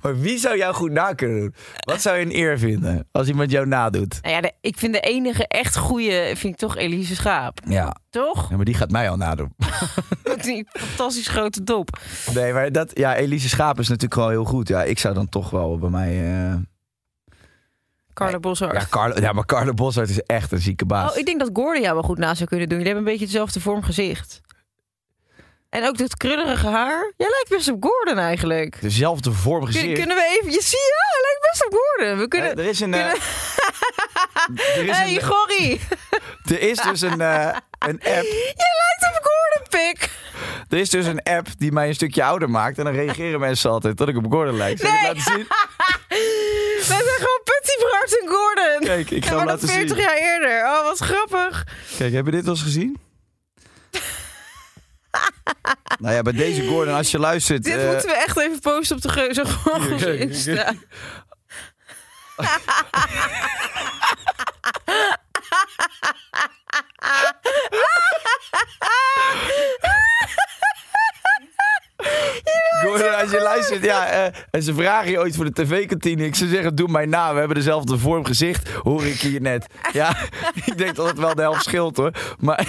Speaker 3: maar wie zou jou goed na kunnen doen? Wat zou je een eer vinden als iemand jou nadoet?
Speaker 5: Nou ja, de- ik vind de enige echt goede, vind ik toch Elise Schaap.
Speaker 3: Ja.
Speaker 5: Toch?
Speaker 3: maar die gaat mij al nadoen.
Speaker 5: Met die fantastisch grote dop.
Speaker 3: Nee, maar dat, ja, Elise Schaap is natuurlijk wel heel goed. Ja, ik zou dan toch wel bij mij. eh,
Speaker 5: Carla Boshart.
Speaker 3: Ja, Carlo, ja, maar Carlo Boshart is echt een zieke baas.
Speaker 5: Oh, ik denk dat Gordon jou wel goed na zou kunnen doen. Jullie hebben een beetje hetzelfde vorm gezicht. En ook dat krullerige haar. Jij lijkt best op Gordon eigenlijk.
Speaker 3: Dezelfde vorm
Speaker 5: Kun-
Speaker 3: gezicht.
Speaker 5: kunnen we even... Je zie je, hij lijkt best op Gordon. We kunnen...
Speaker 3: Eh, er is een. eh, er, is
Speaker 5: hey,
Speaker 3: een
Speaker 5: Gorrie.
Speaker 3: er is dus een, eh, een app.
Speaker 5: Jij lijkt op Gordon, pik.
Speaker 3: Er is dus een app die mij een stukje ouder maakt. En dan reageren mensen altijd dat ik op Gordon lijk. Zal ik
Speaker 5: Nee.
Speaker 3: het laten zien?
Speaker 5: We zijn gewoon Putty Bart en Gordon.
Speaker 3: Kijk, ik
Speaker 5: Wij
Speaker 3: ga hem
Speaker 5: worden
Speaker 3: laten zien.
Speaker 5: 40 jaar eerder. Oh, wat grappig.
Speaker 3: Kijk, heb je dit wel eens gezien? nou ja, bij deze Gordon, als je luistert...
Speaker 5: Dit
Speaker 3: eh,
Speaker 5: moeten we echt even posten op de Geuze Gorgels
Speaker 3: kijk, kijk.
Speaker 5: Insta.
Speaker 3: Gordon, als je luistert, ja, eh, en ze vragen je ooit voor de tv-kantine. Ik zou zeggen, doe mij na. We hebben dezelfde vorm gezicht, hoor ik hier net. Ja, ik denk dat het wel de helft scheelt, hoor. Maar,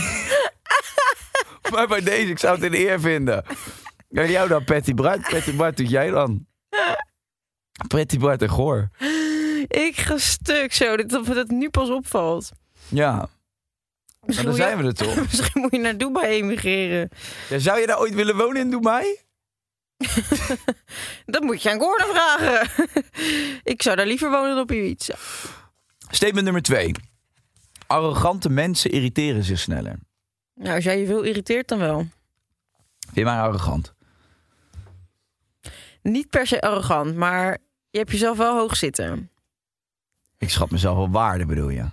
Speaker 3: maar bij deze, ik zou het een eer vinden. En jou dan, Patty Bart. Patty Bart, doet jij dan? Patty Bart en Goor.
Speaker 5: Ik ga stuk zo, dat dat me dat nu pas opvalt.
Speaker 3: Ja, maar
Speaker 5: Misschien,
Speaker 3: dan zijn
Speaker 5: moet je-
Speaker 3: we er toch.
Speaker 5: misschien moet je naar Dubai emigreren.
Speaker 3: Ja, zou je daar ooit willen wonen in Dubai?
Speaker 5: Dat moet je aan Gordon vragen. ik zou daar liever wonen dan op Ibiza.
Speaker 3: Statement nummer twee. Arrogante mensen irriteren zich sneller.
Speaker 5: Nou, als jij je veel irriteert, dan wel.
Speaker 3: Vind je mij arrogant?
Speaker 5: Niet per se arrogant, maar je hebt jezelf wel hoog zitten.
Speaker 3: Ik schat mezelf wel waarde, bedoel je?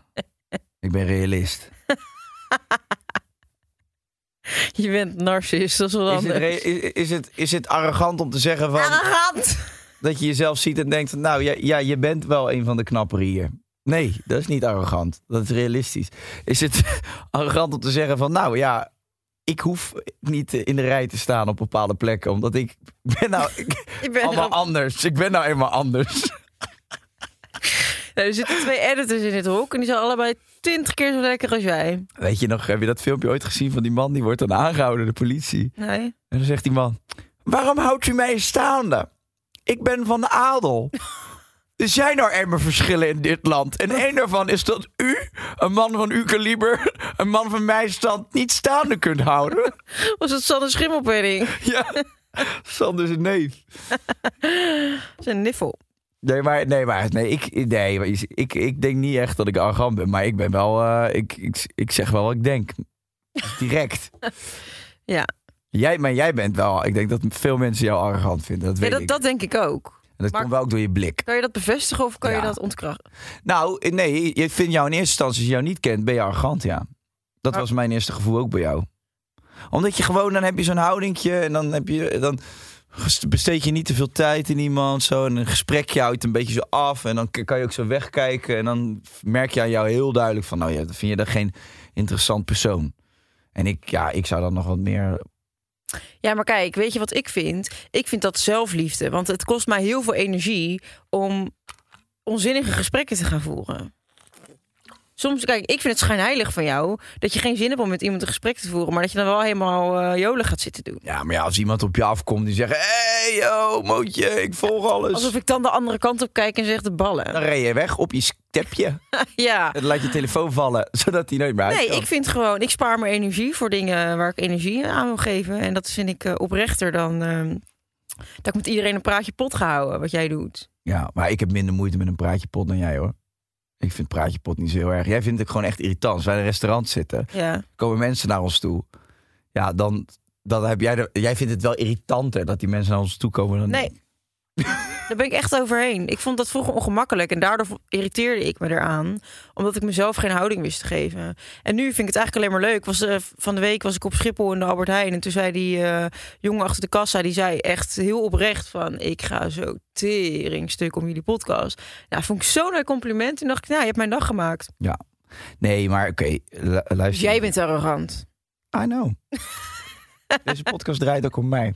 Speaker 3: Ik ben realist.
Speaker 5: Je bent narcist, dat is wel
Speaker 3: Is het,
Speaker 5: anders.
Speaker 3: re- is, is het, is het arrogant om te zeggen
Speaker 5: Nou.
Speaker 3: van,
Speaker 5: Arrogant!
Speaker 3: dat je jezelf ziet en denkt... van, nou, ja, ja, je bent wel een van de knapperen hier. Nee, dat is niet arrogant. Dat is realistisch. Is het arrogant om te zeggen van... nou ja, ik hoef niet eh, in de rij te staan op bepaalde plekken... omdat ik ben nou ik-
Speaker 5: Ik ben
Speaker 3: allemaal
Speaker 5: er-
Speaker 3: anders. Ik ben nou eenmaal anders.
Speaker 5: Nou, er zitten twee editors in dit hok en die zijn allebei twintig keer zo lekker als jij.
Speaker 3: Weet je nog, heb je dat filmpje ooit gezien van die man... die wordt dan aangehouden door de politie?
Speaker 5: Nee.
Speaker 3: En dan zegt die man: Waarom houdt u mij staande? Ik ben van de adel. Er zijn nou eenmaal verschillen in dit land. En één daarvan is dat u, een man van uw kaliber, een man van mijn stand, niet staande kunt houden.
Speaker 5: Was het Sanne Schimmelpenning?
Speaker 3: Ja, Sander is een neef.
Speaker 5: Dat is een niffel.
Speaker 3: Nee, maar, nee, maar nee, ik, nee, maar je- ik, ik denk niet echt dat ik arrogant ben. Maar ik ben wel, eh, ik, ik, ik zeg wel wat ik denk. Direct.
Speaker 5: Ja,
Speaker 3: Jij, maar jij bent wel, ik denk dat veel mensen jou arrogant vinden. Dat
Speaker 5: ja
Speaker 3: weet
Speaker 5: dat,
Speaker 3: ik.
Speaker 5: dat denk ik ook.
Speaker 3: en dat
Speaker 5: maar-
Speaker 3: komt wel ook door je blik.
Speaker 5: Kan je dat bevestigen of kan
Speaker 3: Ja.
Speaker 5: je dat ontkrachten?
Speaker 3: Nou, nee, ik vind jou in eerste instantie, als je jou niet kent, ben je arrogant, ja. Dat
Speaker 5: Maar-
Speaker 3: was mijn eerste gevoel ook bij jou. Omdat je gewoon, dan heb je zo'n houdingje en dan, heb je, dan ges- besteed je niet te veel tijd in iemand. Zo, en een gesprekje houdt een beetje zo af en dan k- kan je ook zo wegkijken. En dan merk je aan jou heel duidelijk van, nou ja, vind je dat geen interessant persoon. En ik, ja, ik zou dan nog wat meer...
Speaker 5: Ja, maar kijk, weet je wat ik vind? Ik vind dat zelfliefde. Want het kost mij heel veel energie om onzinnige gesprekken te gaan voeren. Soms, kijk, ik vind het schijnheilig van jou dat je geen zin hebt om met iemand een gesprek te voeren, maar dat je dan wel helemaal eh, jolig gaat zitten doen.
Speaker 3: Ja, maar ja, als iemand op je afkomt die zegt... hey, yo, mootje, ik volg alles.
Speaker 5: Alsof ik dan de andere kant op kijk en zeg de
Speaker 3: Dan
Speaker 5: ballen.
Speaker 3: ren je weg op je stepje.
Speaker 5: Ja.
Speaker 3: En laat je telefoon vallen, zodat hij nooit meer uit
Speaker 5: Nee,
Speaker 3: kan.
Speaker 5: ik vind gewoon, ik spaar mijn energie voor dingen waar ik energie aan wil geven. En dat vind ik eh, oprechter dan ehm, dat ik met iedereen een praatje pot ga houden, wat jij doet.
Speaker 3: Ja, maar ik heb minder moeite met een praatje pot dan jij hoor. Ik vind praatje pot niet zo heel erg. Jij vindt het gewoon echt irritant. Als wij in een restaurant zitten,
Speaker 5: Ja.
Speaker 3: komen mensen naar ons toe. Ja, dan, dan heb jij... de- jij vindt het wel irritanter dat die mensen naar ons toe komen dan
Speaker 5: Nee. Daar ben ik echt overheen. Ik vond dat vroeger ongemakkelijk en daardoor irriteerde ik me eraan. Omdat ik mezelf geen houding wist te geven. En nu vind ik het eigenlijk alleen maar leuk. Was, eh, van de week was ik op Schiphol in de Albert Heijn. En toen zei die eh, jongen achter de kassa, die zei echt heel oprecht van... ik ga zo teringstuk om jullie podcast. Nou, vond ik zo'n leuk compliment. Toen dacht ik, nou, je hebt mijn dag gemaakt.
Speaker 3: Nee, maar oké, lu- luister.
Speaker 5: Dus jij bent arrogant.
Speaker 3: I know. Deze podcast draait ook om mij.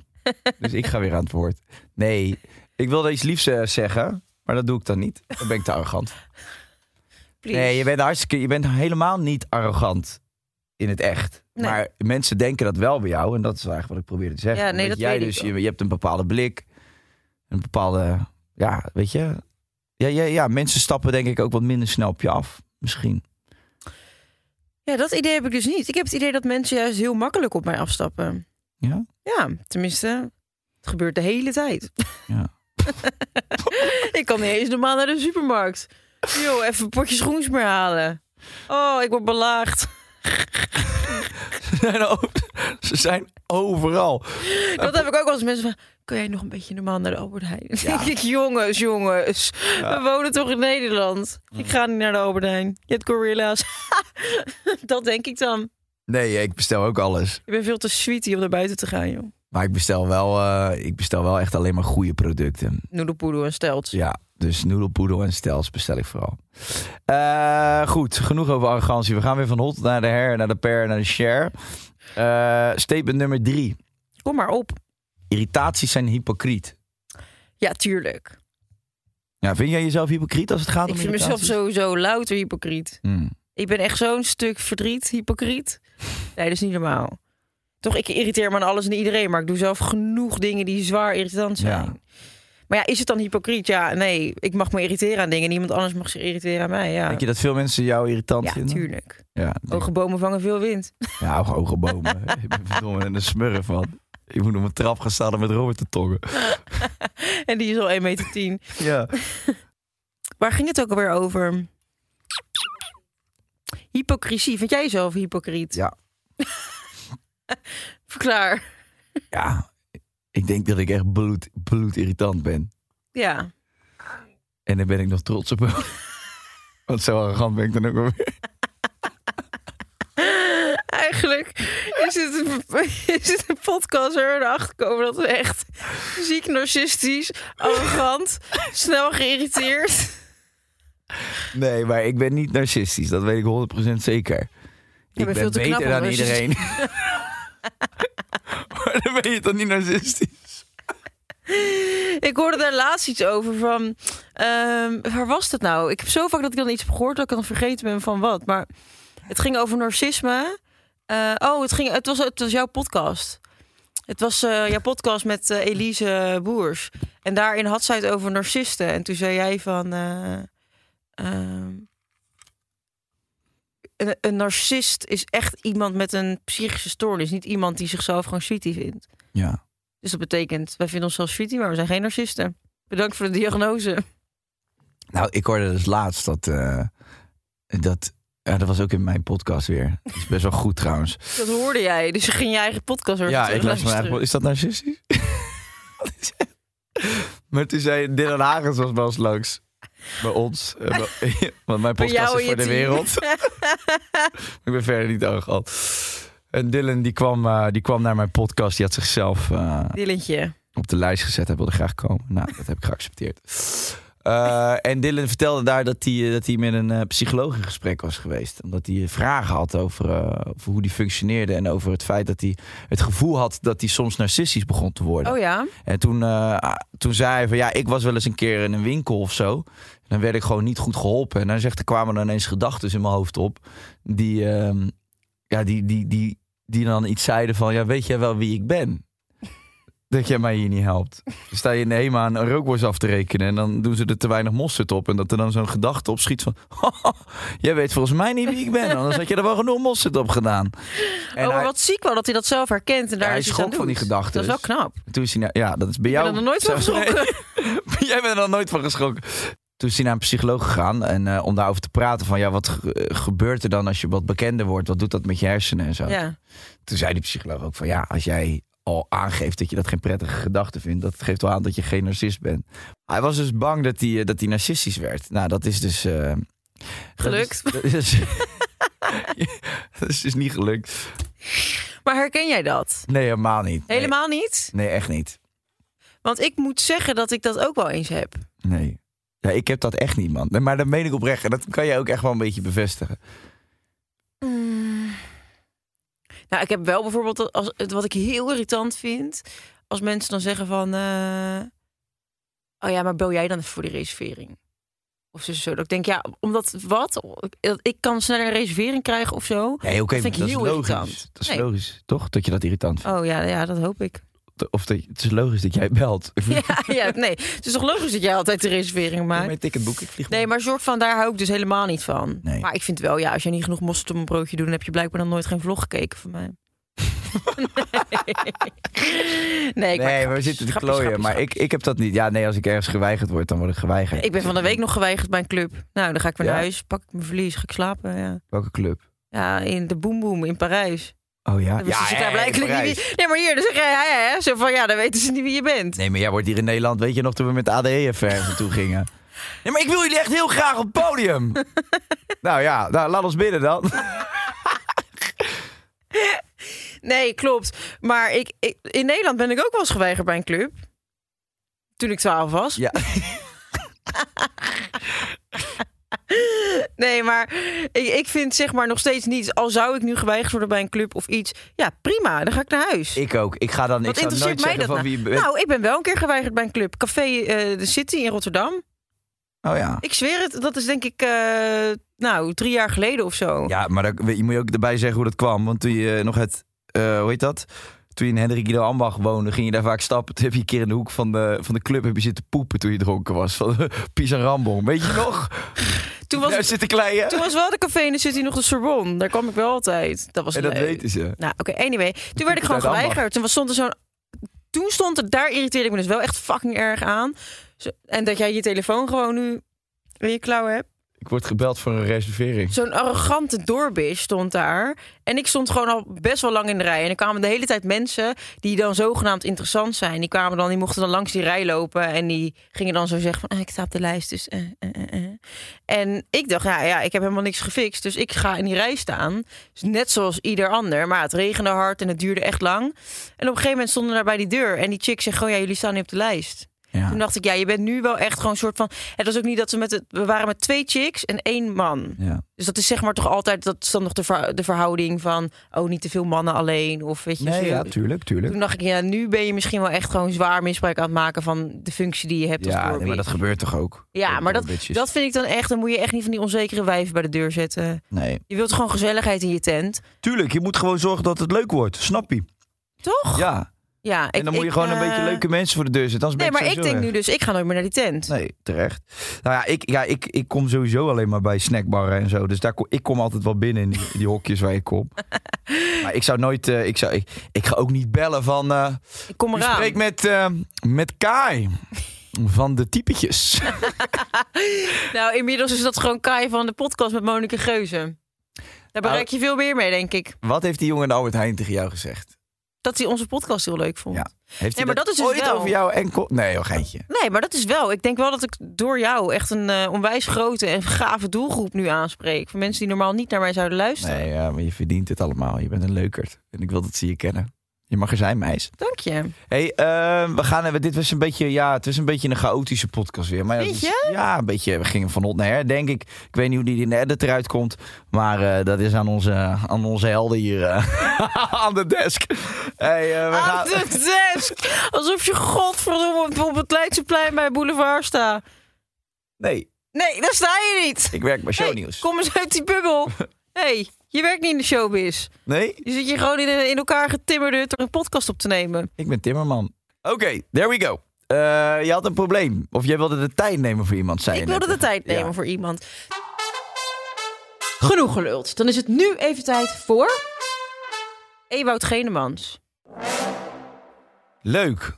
Speaker 3: Dus ik ga weer aan het woord. Nee, ik wilde iets liefs eh, zeggen, maar dat doe ik dan niet. Dan ben ik te arrogant.
Speaker 5: Please.
Speaker 3: Nee, je bent hartstikke, je bent helemaal niet arrogant in het echt.
Speaker 5: Nee.
Speaker 3: Maar mensen denken dat wel bij jou en dat is eigenlijk wat ik probeerde te zeggen.
Speaker 5: Ja, nee,
Speaker 3: Omdat
Speaker 5: dat
Speaker 3: jij
Speaker 5: weet ik
Speaker 3: dus
Speaker 5: wel.
Speaker 3: je, je hebt een bepaalde blik, een bepaalde, ja, weet je, ja, ja, ja, mensen stappen denk ik ook wat minder snel op je af, misschien.
Speaker 5: Ja, dat idee heb ik dus niet. Ik heb het idee dat mensen juist heel makkelijk op mij afstappen.
Speaker 3: Ja?
Speaker 5: Ja, tenminste, het gebeurt de hele tijd.
Speaker 3: Ja.
Speaker 5: ik kan niet eens normaal naar de supermarkt. Yo, even een potje schoens meer halen. Oh, ik word belaagd.
Speaker 3: En ook- Ze zijn overal.
Speaker 5: Dat heb ik ook wel eens mensen van. Kun jij nog een beetje normaal naar de Albert Heijn? Dan denk ik, jongens, jongens. We wonen toch in Nederland? Ik ga niet naar de Albert Heijn. Je hebt gorilla's. dat denk ik dan.
Speaker 3: Nee, ik bestel ook alles.
Speaker 5: Ik ben veel te sweetie om naar buiten te gaan, joh.
Speaker 3: Maar ik bestel wel, eh, ik bestel wel echt alleen maar goede producten.
Speaker 5: Noedelpoedel en stelt.
Speaker 3: Ja, dus noedelpoedel en stels bestel ik vooral. Eh, goed, genoeg over arrogantie. We gaan weer van hot naar de her, naar de per, naar de share. Eh, statement nummer drie.
Speaker 5: Kom maar op.
Speaker 3: Irritaties zijn hypocriet.
Speaker 5: Ja, tuurlijk.
Speaker 3: Ja, vind jij jezelf hypocriet als het gaat
Speaker 5: Ik
Speaker 3: om
Speaker 5: vind mezelf
Speaker 3: irritaties?
Speaker 5: sowieso louter hypocriet.
Speaker 3: Hmm.
Speaker 5: Ik ben echt zo'n stuk verdriet, hypocriet. Nee, dat is niet normaal. Toch, ik irriteer me aan alles en iedereen, maar ik doe zelf genoeg dingen die zwaar irritant zijn.
Speaker 3: Ja.
Speaker 5: Maar ja, is het dan hypocriet? Ja, nee, ik mag me irriteren aan dingen. Niemand anders mag zich irriteren aan mij. Ja,
Speaker 3: Denk je dat veel mensen jou irritant
Speaker 5: ja
Speaker 3: vinden?
Speaker 5: tuurlijk.
Speaker 3: Ja, denk-
Speaker 5: Hoge bomen vangen veel wind.
Speaker 3: ja, hoge- hoge bomen. ik ben verdomme en een smurf, man. Ik moet op mijn trap gaan staan om met Robert te tongen.
Speaker 5: En die is al 1,10 meter.
Speaker 3: Ja.
Speaker 5: Waar ging het ook alweer over? Hypocrisie. Vind jij jezelf hypocriet?
Speaker 3: Ja.
Speaker 5: Verklaar.
Speaker 3: ja, ik denk dat ik echt bloed, bloedirritant ben.
Speaker 5: Ja.
Speaker 3: En daar ben ik nog trots op. Want zo arrogant ben ik dan ook wel weer.
Speaker 5: Eigenlijk is het, een, is het een podcast waar we erachter komen dat we echt ziek narcistisch, arrogant, snel geïrriteerd.
Speaker 3: Nee, maar ik ben niet narcistisch. Dat weet ik 100% zeker. Ik
Speaker 5: bent
Speaker 3: ben
Speaker 5: veel te knap
Speaker 3: beter
Speaker 5: om
Speaker 3: dan
Speaker 5: narcistisch-
Speaker 3: iedereen. maar dan ben je toch niet narcistisch?
Speaker 5: Ik hoorde daar laatst iets over van. ehm, waar was dat nou? Ik heb zo vaak dat ik dan iets heb gehoord dat ik dan vergeten ben van wat. Maar het ging over narcisme. Eh, oh, het, ging, het, was, het was jouw podcast. Het was eh, jouw podcast met eh, Elise Boers. En daarin had zij het over narcisten. En toen zei jij van. eh, ehm, een, een narcist is echt iemand met een psychische stoornis. Niet iemand die zichzelf gewoon sweetie vindt.
Speaker 3: Ja.
Speaker 5: Dus dat betekent, wij vinden onszelf sweetie, maar we zijn geen narcisten. Bedankt voor de diagnose.
Speaker 3: Nou, ik hoorde dus laatst dat... eh, dat ja, dat was ook in mijn podcast weer. Dat is best wel goed trouwens.
Speaker 5: Dat hoorde jij, dus je ging je eigen podcast weer
Speaker 3: Ja,
Speaker 5: terug
Speaker 3: ik las mijn eigen...
Speaker 5: luisteren.
Speaker 3: Is dat narcistisch? Wat is het? maar toen zei Dylan Hagens was wel eens langs. Bij ons. eh, bij- Want mijn
Speaker 5: Bij
Speaker 3: podcast
Speaker 5: jou
Speaker 3: is voor
Speaker 5: en je
Speaker 3: de
Speaker 5: team.
Speaker 3: wereld. ik ben verder niet arrogant. En Dylan die kwam, eh, die kwam naar mijn podcast. Die had zichzelf eh,
Speaker 5: Dillentje.
Speaker 3: op de lijst gezet. Hij wilde graag komen. Nou, dat heb ik geaccepteerd. Eh, en Dylan vertelde daar dat hij, eh, dat hij met een eh, psycholoog in gesprek was geweest. Omdat hij vragen had over, eh, over hoe die functioneerde. En over het feit dat hij het gevoel had dat hij soms narcistisch begon te worden.
Speaker 5: Oh ja?
Speaker 3: En toen, eh, ah, toen zei hij van ja, ik was wel eens een keer in een winkel of zo. Dan werd ik gewoon niet goed geholpen. En dan zegt, er kwamen dan ineens gedachten in mijn hoofd op. Die, ehm, ja, die, die, die, die dan iets zeiden van ja, weet jij wel wie ik ben? Dat jij mij hier niet helpt. Dan sta je in de HEMA een rookworst af te rekenen. En dan doen ze er te weinig mosterd op. En dat er dan zo'n gedachte op schiet van... jij weet volgens mij niet wie ik ben. Anders had je er wel genoeg mosterd op gedaan. En
Speaker 5: oh, maar
Speaker 3: hij-
Speaker 5: wat ziek wel dat hij dat zelf herkent en daar
Speaker 3: hij
Speaker 5: is
Speaker 3: schrok van die
Speaker 5: gedachten. Dat
Speaker 3: gedachtes.
Speaker 5: is wel knap.
Speaker 3: Toen is hij naar- ja, dat is bij
Speaker 5: Ik ben
Speaker 3: jou.
Speaker 5: er nog nooit van
Speaker 3: Zo-
Speaker 5: geschrokken.
Speaker 3: Nee. Jij bent er nog nooit van geschrokken. Toen is hij naar een psycholoog gegaan en, eh, om daarover te praten. Van ja, wat ge- eh, gebeurt er dan als je wat bekender wordt? Wat doet dat met je hersenen en zo?
Speaker 5: Ja.
Speaker 3: Toen zei die psycholoog ook van ja, als jij al aangeeft dat je dat geen prettige gedachte vindt, dat geeft wel aan dat je geen narcist bent. Hij was dus bang dat hij, eh, dat hij narcistisch werd. Nou, dat is dus. eh,
Speaker 5: Gelukt.
Speaker 3: Dat is, dat is, dat is dus niet gelukt.
Speaker 5: Maar herken jij dat?
Speaker 3: Nee, helemaal niet. Nee.
Speaker 5: Helemaal niet?
Speaker 3: Nee, echt niet.
Speaker 5: Want ik moet zeggen dat ik dat ook wel eens heb.
Speaker 3: Nee. Ja, ik heb dat echt niet, man. Nee, Maar dat meen ik oprecht. En dat kan jij ook echt wel een beetje bevestigen.
Speaker 5: Nou, ik heb wel bijvoorbeeld, dat als, het- wat ik heel irritant vind, als mensen dan zeggen van, eh, oh ja, maar bel jij dan voor die reservering? Of zo, zo. Dat ik denk, ja, omdat wat? Ik- Ik kan sneller een reservering krijgen of zo.
Speaker 3: Nee, oké,
Speaker 5: Dat vind ik
Speaker 3: maar dat is
Speaker 5: heel
Speaker 3: logisch.
Speaker 5: irritant.
Speaker 3: Dat is
Speaker 5: Nee.
Speaker 3: logisch, toch? Dat je dat irritant vindt.
Speaker 5: Oh ja, ja dat hoop ik.
Speaker 3: Of dat, het is logisch dat jij belt. Ik moet
Speaker 5: Oh. Ja, ja, nee, het is toch logisch dat jij altijd de reservering maakt?
Speaker 3: mijn ticket boeken, ik vlieg
Speaker 5: Nee,
Speaker 3: mee.
Speaker 5: maar een soort van, daar hou ik dus helemaal niet van.
Speaker 3: Nee.
Speaker 5: Maar ik vind wel, ja, als jij niet genoeg mosterd op een broodje doet... dan heb je blijkbaar nog nooit geen vlog gekeken van mij. nee, nee, ik maak
Speaker 3: Nee, maar we
Speaker 5: grapjes.
Speaker 3: zitten te
Speaker 5: Grapjes,
Speaker 3: klooien.
Speaker 5: grapjes,
Speaker 3: Maar ik,
Speaker 5: grapjes.
Speaker 3: ik heb dat niet. Ja, nee, als ik ergens geweigerd word, dan word ik geweigerd.
Speaker 5: Ik ben van de week nog geweigerd bij een club. Nou, dan ga ik weer
Speaker 3: Ja?
Speaker 5: naar huis, pak ik mijn verlies, ga ik slapen. Ja,
Speaker 3: Welke club?
Speaker 5: ja in de Boom Boom in Parijs.
Speaker 3: Oh ja?
Speaker 5: Dat wisten ze
Speaker 3: hè,
Speaker 5: daar blijkbaar
Speaker 3: Parijs.
Speaker 5: niet wie- Nee, maar hier, dus hij, hij, hè, zo van, ja, dan weten ze niet wie je bent.
Speaker 3: Nee, maar jij wordt hier in Nederland, weet je nog, toen we met de ADE even ergens naartoe gingen. Nee, maar ik wil jullie echt heel graag op het podium. nou ja, nou, laat ons binnen dan.
Speaker 5: Nee, klopt. Maar ik, ik- in Nederland ben ik ook wel eens geweigerd bij een club. Toen ik 12 was.
Speaker 3: ja.
Speaker 5: Nee, maar ik, ik vind zeg maar nog steeds niet. Al zou ik nu geweigerd worden bij een club of iets. Ja, prima. Dan ga ik naar huis.
Speaker 3: Ik ook. Ik ga dan,
Speaker 5: Wat
Speaker 3: ik zou nooit
Speaker 5: interesseert mij
Speaker 3: zeggen van
Speaker 5: dat nou?
Speaker 3: wie je bent.
Speaker 5: Nou, ik ben wel een keer geweigerd bij een club. Café eh, de City in Rotterdam. Nou-
Speaker 3: oh ja.
Speaker 5: Ik zweer het. Dat is denk ik, eh, nou, drie jaar geleden of zo.
Speaker 3: Ja, maar dat, je moet je ook erbij zeggen hoe dat kwam. Want toen je nog het, eh, hoe heet dat? Toen je in Hendrik Guido Ambach woonde, ging je daar vaak stappen. Toen heb je een keer in de hoek van de, van de club heb je zitten poepen toen je dronken was. Van Pisarambon. Weet je nog?
Speaker 5: Toen was,
Speaker 3: Nou, zitten kleien.
Speaker 5: toen was wel de Café in de City nog de Sorbonne. Daar kwam ik wel altijd. Dat was
Speaker 3: En dat
Speaker 5: leuk.
Speaker 3: weten ze.
Speaker 5: Nou, oké, anyway. Toen werd ik
Speaker 3: Uit
Speaker 5: gewoon
Speaker 3: Ambacht.
Speaker 5: geweigerd. Toen was- stond er zo'n... Toen stond het, daar irriteerde ik me dus wel echt fucking erg aan. Zo- En dat jij je telefoon gewoon nu in je klauw hebt.
Speaker 3: Ik word gebeld voor een reservering.
Speaker 5: Zo'n arrogante doorbis stond daar. En ik stond gewoon al best wel lang in de rij. En er kwamen de hele tijd mensen die dan zogenaamd interessant zijn. Die kwamen dan, die mochten dan langs die rij lopen. En die gingen dan zo zeggen van, ah, ik sta op de lijst, dus... eh, eh, eh, eh. En ik dacht, ja, ja, ik heb helemaal niks gefixt. Dus ik ga in die rij staan. Dus net zoals ieder ander. Maar het regende hard en het duurde echt lang. En op een gegeven moment stonden we daar bij die deur. En die chick zegt gewoon, ja, jullie staan niet op de lijst.
Speaker 3: Ja.
Speaker 5: Toen dacht ik, ja, je bent nu wel echt gewoon een soort van... Het was ook niet dat ze met... Het, we waren met twee chicks en één man.
Speaker 3: Ja.
Speaker 5: Dus dat is zeg maar toch altijd, dat is dan nog de, verhou- de verhouding van, oh, niet te veel mannen alleen. Of weet je, zo.
Speaker 3: Nee, ja, tuurlijk, tuurlijk.
Speaker 5: Toen dacht ik, ja, nu ben je misschien wel echt gewoon zwaar misbruik aan het maken van de functie die je hebt als
Speaker 3: Ja, nee,
Speaker 5: doorbis.
Speaker 3: maar dat gebeurt toch ook?
Speaker 5: Ja,
Speaker 3: Ook
Speaker 5: maar dat,
Speaker 3: door bitches.
Speaker 5: dat vind ik dan echt, dan moet je echt niet van die onzekere wijven bij de deur zetten.
Speaker 3: Nee.
Speaker 5: Je wilt gewoon gezelligheid in je tent,
Speaker 3: Tuurlijk, je moet gewoon zorgen dat het leuk wordt. Snap je?
Speaker 5: toch?
Speaker 3: Ja.
Speaker 5: Ja, ik-
Speaker 3: En dan moet je
Speaker 5: ik,
Speaker 3: gewoon een
Speaker 5: eh,
Speaker 3: beetje leuke mensen voor de deur zetten. anders
Speaker 5: Nee,
Speaker 3: ben
Speaker 5: maar ik
Speaker 3: sowieso
Speaker 5: denk
Speaker 3: weg.
Speaker 5: nu dus, ik ga nooit meer naar die tent.
Speaker 3: Nee, terecht. Nou ja, ik, ja ik, ik kom sowieso alleen maar bij snackbarren en zo. Dus daar kom, ik kom altijd wel binnen in die, die hokjes waar ik kom. Maar ik zou nooit... eh, ik, zou, ik, ik ga ook niet bellen van... eh
Speaker 5: Ik kom
Speaker 3: u
Speaker 5: eraan.
Speaker 3: spreekt met, eh, met Kai van de typetjes.
Speaker 5: Nou, inmiddels is dat gewoon Kai van de podcast met Monika Geuze. Daar bereik
Speaker 3: Nou,
Speaker 5: je veel meer mee, denk ik.
Speaker 3: Wat heeft die jongen in de Albert Heijn tegen jou gezegd?
Speaker 5: Dat hij onze podcast heel leuk vond.
Speaker 3: Ja. Heeft hij
Speaker 5: maar dat is dus
Speaker 3: ooit
Speaker 5: wel-
Speaker 3: over jou enkel... Nee, joh, geintje.
Speaker 5: Nee, maar dat is wel. Ik denk wel dat ik door jou echt een eh, onwijs grote en gave doelgroep nu aanspreek. Voor mensen die normaal niet naar mij zouden luisteren.
Speaker 3: Nee, ja, maar je verdient het allemaal. Je bent een leukert. En ik wil dat ze je kennen. Je mag er zijn, meis.
Speaker 5: Dank je.
Speaker 3: Hey, eh, we gaan even. Dit was een beetje. Ja, het was een beetje een chaotische podcast weer. Maar ja, dat
Speaker 5: Vind
Speaker 3: is-
Speaker 5: je?
Speaker 3: ja, een beetje. We gingen van hot naar her, denk ik. Ik weet niet hoe die in de edit eruit komt. Maar eh, dat is aan onze, aan onze helden hier. eh, aan de desk. Hey, eh, we gaan.
Speaker 5: Aan de desk! Alsof je godverdomme op, op het Leidseplein bij Boulevard staat.
Speaker 3: Nee,
Speaker 5: Nee, daar sta je niet!
Speaker 3: ik werk bij
Speaker 5: Hey,
Speaker 3: shownieuws.
Speaker 5: kom eens uit die bubbel. hey, je werkt niet in de showbiz.
Speaker 3: nee,
Speaker 5: Je zit hier gewoon in, in elkaar getimmerd door een podcast op te nemen.
Speaker 3: ik ben Timmerman. Oké, there we go. Eh, je had een probleem. Of jij wilde de tijd nemen voor iemand, zei je
Speaker 5: Ik wilde
Speaker 3: net.
Speaker 5: de tijd nemen
Speaker 3: Ja.
Speaker 5: voor iemand. Genoeg geluld. Dan is het nu even tijd voor... Ewout Genemans.
Speaker 3: Leuk.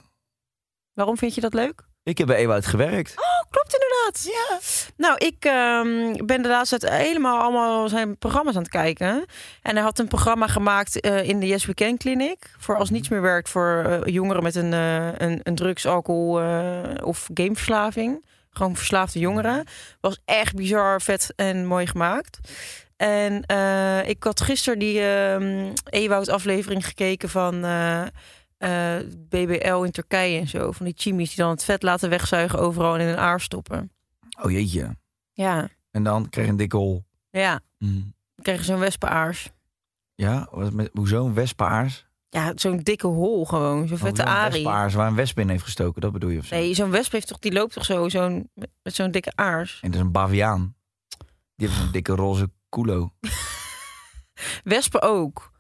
Speaker 5: Waarom vind je dat leuk?
Speaker 3: Ik heb bij Ewout gewerkt.
Speaker 5: Oh, klopt inderdaad. Ja. Nou, ik ehm, ben de laatste tijd helemaal allemaal zijn programma's aan het kijken. En hij had een programma gemaakt eh, in de Yes Weekend Clinic. Voor als niets meer werkt voor eh, jongeren met een, eh, een, een drugs, alcohol eh, of gameverslaving. Gewoon verslaafde jongeren. Was echt bizar, vet en mooi gemaakt. En eh, ik had gisteren die ehm Ewoud-aflevering gekeken van eh, eh, BBL in Turkije en zo. Van die chimies die dan het vet laten wegzuigen overal en in hun aar stoppen.
Speaker 3: Oh jeetje.
Speaker 5: Ja,
Speaker 3: En dan kreeg je een dikke hol.
Speaker 5: ja.
Speaker 3: Mm.
Speaker 5: Dan krijg je zo'n wespenaars.
Speaker 3: Ja, wat met, hoezo een wespaars?
Speaker 5: Ja, zo'n dikke hol gewoon.
Speaker 3: Oh,
Speaker 5: Zo'n vette arie.
Speaker 3: Wespaars waar een wesp in heeft gestoken, dat bedoel je of zo?
Speaker 5: Nee, zo'n wesp heeft toch, die loopt toch zo, zo'n, met zo'n dikke aars.
Speaker 3: En dat is een baviaan. Die heeft
Speaker 5: Oh.
Speaker 3: een dikke roze culo.
Speaker 5: Wespen ook.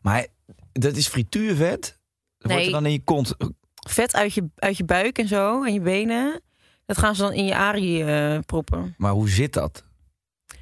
Speaker 3: Maar hij- dat is frituurvet? Dat wordt
Speaker 5: Nee.
Speaker 3: er dan in je kont...
Speaker 5: Vet uit je, uit je buik en zo, en je benen. Dat gaan ze dan in je arie eh, proppen.
Speaker 3: Maar hoe zit dat?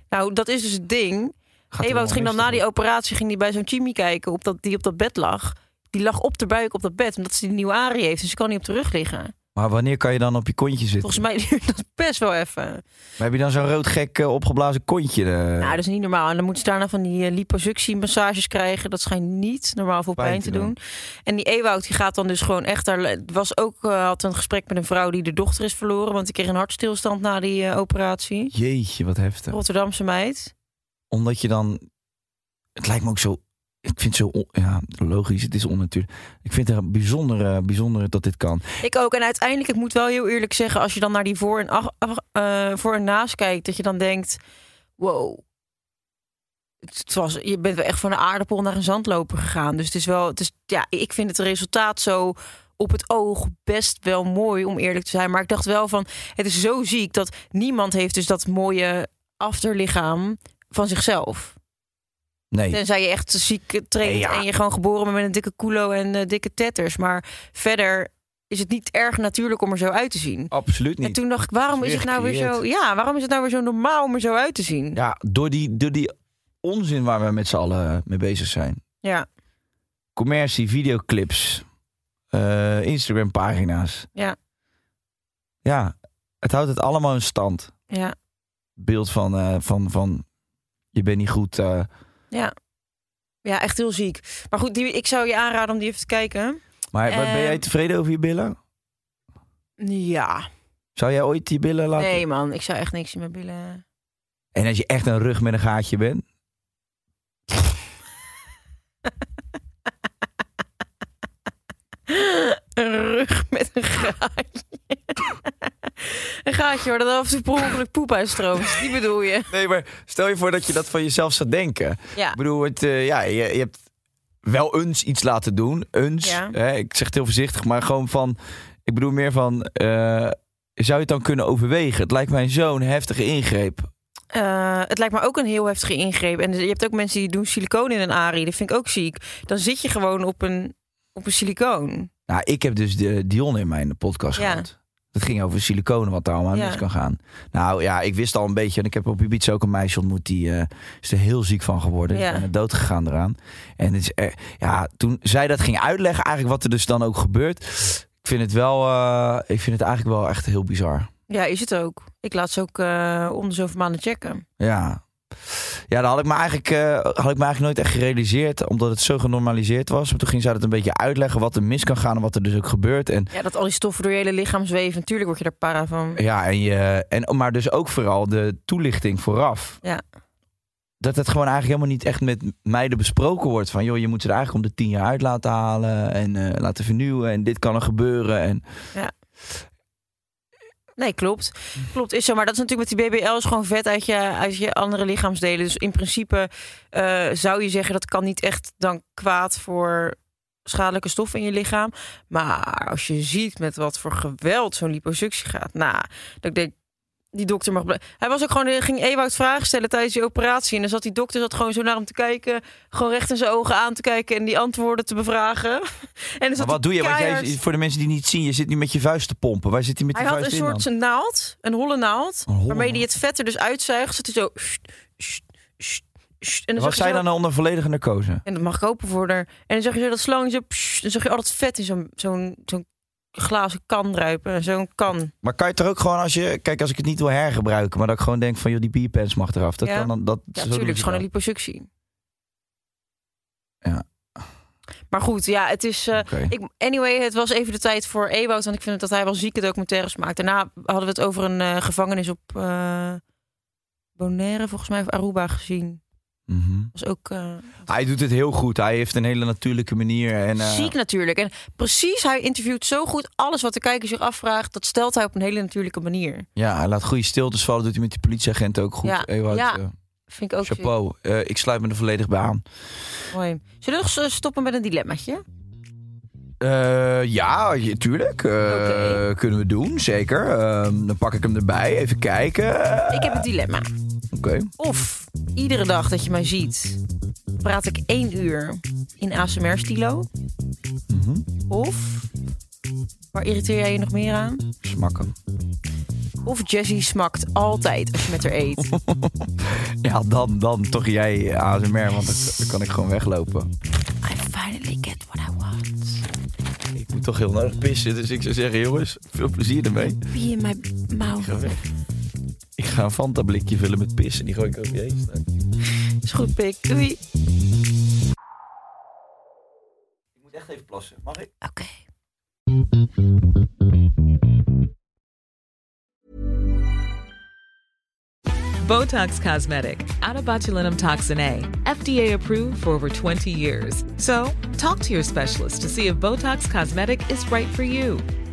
Speaker 5: Nou, dat is dus het ding.
Speaker 3: Gaat er
Speaker 5: Ewout
Speaker 3: wel
Speaker 5: ging dan
Speaker 3: mis
Speaker 5: na die
Speaker 3: dan?
Speaker 5: operatie ging die bij zo'n Jimmy kijken op dat, die op dat bed lag. Die lag op de buik op dat bed, omdat ze die nieuwe arie heeft. Dus ze kan niet op de rug liggen.
Speaker 3: Maar wanneer kan je dan op je kontje zitten?
Speaker 5: Volgens mij duurt dat best wel even.
Speaker 3: Maar heb je dan zo'n rood gek eh, opgeblazen kontje? eh,
Speaker 5: Nou, dat is niet normaal. En dan moeten ze daarna van die eh, liposuctie-massages krijgen. Dat schijnt niet normaal veel pijn, te doen. En die Ewout die gaat dan dus gewoon echt daar. Het was ook, eh, had een gesprek met een vrouw die de dochter is verloren. Want die kreeg een hartstilstand na die eh, operatie.
Speaker 3: Jeetje, wat heftig.
Speaker 5: Rotterdamse meid.
Speaker 3: Omdat je dan... Het lijkt me ook zo... Ik vind het zo... on- Ja, logisch, het is onnatuurlijk. Ik vind het bijzonder, bijzonder dat dit kan.
Speaker 5: Ik ook. En uiteindelijk, ik moet wel heel eerlijk zeggen, als je dan naar die voor- en, ach, ach- eh, voor en naast kijkt, dat je dan denkt: wow. Het was, je bent wel echt van een aardappel naar een zandloper gegaan. Dus het is wel, het is, ja, ik vind het resultaat zo op het oog best wel mooi, om eerlijk te zijn. Maar ik dacht wel van, het is zo ziek dat niemand heeft dus dat mooie afterlichaam van zichzelf.
Speaker 3: Nee.
Speaker 5: Tenzij je echt ziek traint
Speaker 3: Ja.
Speaker 5: en je gewoon geboren bent met een dikke culo en eh, dikke tetters. Maar verder is het niet erg natuurlijk om er zo uit te zien.
Speaker 3: Absoluut
Speaker 5: En toen dacht ik, waarom
Speaker 3: Dat
Speaker 5: is
Speaker 3: is
Speaker 5: het nou weer
Speaker 3: weergekeerd.
Speaker 5: zo? Ja, waarom is het nou weer zo normaal om er zo uit te zien? Ja,
Speaker 3: Ja, door die, door die onzin waar we met z'n allen mee bezig zijn.
Speaker 5: ja.
Speaker 3: Commercie, videoclips, eh, Instagram-pagina's.
Speaker 5: Ja.
Speaker 3: Ja, het houdt het allemaal in stand.
Speaker 5: ja.
Speaker 3: Beeld van, eh, van, van je bent niet goed. eh.
Speaker 5: echt heel ziek. Maar goed, die, ik zou je aanraden om die even te kijken.
Speaker 3: Maar
Speaker 5: Eh,
Speaker 3: ben jij tevreden over je billen?
Speaker 5: Ja.
Speaker 3: Zou jij ooit die billen laten?
Speaker 5: Nee man, ik zou echt niks in mijn billen...
Speaker 3: En als je echt een rug met een gaatje bent?
Speaker 5: Een rug met een gaatje. een gaatje waar dat af en toe per ongeluk poep uitstroomt. Die bedoel je?
Speaker 3: Nee, maar stel je voor dat je dat van jezelf zou denken.
Speaker 5: Ja.
Speaker 3: Ik bedoel, het, eh, ja, je, je hebt wel eens iets laten doen. Eens.
Speaker 5: Ja.
Speaker 3: Hè, ik zeg het heel voorzichtig, maar gewoon van... Ik bedoel meer van... eh, zou je het dan kunnen overwegen? Het lijkt mij zo'n heftige ingreep.
Speaker 5: Eh, het lijkt me ook een heel heftige ingreep. En je hebt ook mensen die doen silicoon in een ARI. Dat vind ik ook ziek. Dan zit je gewoon op een, op een silicoon.
Speaker 3: Nou, ik heb dus de Dion in mijn podcast
Speaker 5: Ja.
Speaker 3: gehad. Dat ging over siliconen, wat daar allemaal aan
Speaker 5: Ja.
Speaker 3: mis kan gaan. Nou ja, ik wist al een beetje. En ik heb op Ibiza ook een meisje ontmoet. Die eh, is er heel ziek van geworden.
Speaker 5: Ja.
Speaker 3: Is bijna dood gegaan eraan. En het is, eh, ja, toen zij dat ging uitleggen, eigenlijk wat er dus dan ook gebeurt. Ik vind het wel, eh, ik vind het eigenlijk wel echt heel bizar.
Speaker 5: Ja, is het ook. Ik laat ze ook eh om de zoveel maanden checken.
Speaker 3: Ja. Ja, dat had ik, me eigenlijk, eh, had ik me eigenlijk nooit echt gerealiseerd, omdat het zo genormaliseerd was. Maar toen ging zij dat een beetje uitleggen wat er mis kan gaan en wat er dus ook gebeurt. En
Speaker 5: Ja, dat al die stoffen door je hele lichaam zweven. Natuurlijk word je daar para van.
Speaker 3: Ja, en je, en, maar dus ook vooral de toelichting vooraf.
Speaker 5: Ja.
Speaker 3: Dat het gewoon eigenlijk helemaal niet echt met meiden besproken wordt. Van joh, je moet ze er eigenlijk om de tien jaar uit laten halen. En eh, laten vernieuwen. En dit kan er gebeuren. En
Speaker 5: Nee, klopt. Klopt, is zo. Maar dat is natuurlijk met die BBL is gewoon vet uit je, uit je andere lichaamsdelen. Dus in principe eh, zou je zeggen dat kan niet echt dan kwaad voor schadelijke stoffen in je lichaam. Maar als je ziet met wat voor geweld zo'n liposuctie gaat, nou, dat ik denk, die dokter mag... blij- Hij was ook gewoon, eh, ging Ewout vragen stellen tijdens die operatie. En dan zat die dokter zat gewoon zo naar hem te kijken, gewoon recht in zijn ogen aan te kijken en die antwoorden te bevragen. En dan zat
Speaker 3: maar wat
Speaker 5: hij
Speaker 3: doe je? Want jij,
Speaker 5: keihard-
Speaker 3: voor de mensen die niet zien, je zit nu met je vuist te pompen. Waar zit hij met
Speaker 5: hij
Speaker 3: die
Speaker 5: had
Speaker 3: vuist
Speaker 5: een
Speaker 3: in dan?
Speaker 5: soort naald, een holle naald,
Speaker 3: Een holle
Speaker 5: waarmee hij
Speaker 3: naald.
Speaker 5: het vet er dus uitzuigt. Zat hij zo. sst, sst, sst, sst. En
Speaker 3: Was
Speaker 5: dan zag dus je
Speaker 3: zij
Speaker 5: zo-
Speaker 3: dan onder volledige narcose?
Speaker 5: En dat mag ik hopen voor haar. En dan zag je zo dat slang zo. pssst, dan zag je al dat vet in zo'n zo'n zo'n glazen kan druipen. En Zo'n kan.
Speaker 3: Maar kan je het er ook gewoon als je... Kijk, als ik het niet wil hergebruiken, maar dat ik gewoon denk van... joh, die bierpens mag eraf. Dat
Speaker 5: Ja.
Speaker 3: kan dan... Dat, zo
Speaker 5: Ja,
Speaker 3: doen
Speaker 5: natuurlijk. Het is
Speaker 3: ze
Speaker 5: gewoon een
Speaker 3: dat.
Speaker 5: liposuctie.
Speaker 3: Ja.
Speaker 5: Maar goed, ja, het is. eh,
Speaker 3: Oké.
Speaker 5: ik, anyway, het was even de tijd voor Ewout. Want ik vind dat hij wel zieke documentaires maakt. Daarna hadden we het over een eh, gevangenis op eh, Bonaire, volgens mij, of Aruba gezien.
Speaker 3: Mhm.
Speaker 5: was ook eh,
Speaker 3: Hij doet het heel goed. Hij heeft een hele natuurlijke manier. En, eh,
Speaker 5: ziek natuurlijk. En precies, hij interviewt zo goed alles wat de kijker zich afvraagt. Dat stelt hij op een hele natuurlijke manier.
Speaker 3: Ja, hij laat goede stiltes vallen. Doet hij met die politieagenten ook goed.
Speaker 5: Ja,
Speaker 3: Ewout,
Speaker 5: ja,
Speaker 3: eh,
Speaker 5: Vind ik ook ziek.
Speaker 3: chapeau. Eh, ik sluit me er volledig bij aan.
Speaker 5: mooi. Zullen we nog eens, eh, stoppen met een dilemmaatje?
Speaker 3: Eh, ja, je- tuurlijk. Eh,
Speaker 5: Oké.
Speaker 3: Kunnen we doen, zeker. Ehm, dan pak ik hem erbij. Even kijken.
Speaker 5: Ik heb een dilemma.
Speaker 3: Oké.
Speaker 5: Of iedere dag dat je mij ziet, praat ik één uur in ASMR-stilo. Of, waar irriteer jij je nog meer aan?
Speaker 3: Smakken.
Speaker 5: Of Jessie smakt altijd als je met haar eet.
Speaker 3: Ja, dan, dan toch jij ASMR, want dan, dan kan ik gewoon weglopen.
Speaker 2: I finally get what I want.
Speaker 3: Ik moet toch heel nodig pissen, dus ik zou zeggen, jongens, veel plezier ermee.
Speaker 7: Pee in mijn mouw.
Speaker 3: Ga weg. Ik ga een Fanta blikje vullen met pis en die gooi ik over je heen. straks.
Speaker 8: Is goed, pik. Doei.
Speaker 3: Ik moet echt even plassen, mag ik?
Speaker 7: Oké.
Speaker 9: Botox Cosmetic, out of botulinum toxin A, FDA approved for over 20 years. So, talk to your specialist to see if Botox Cosmetic is right for you.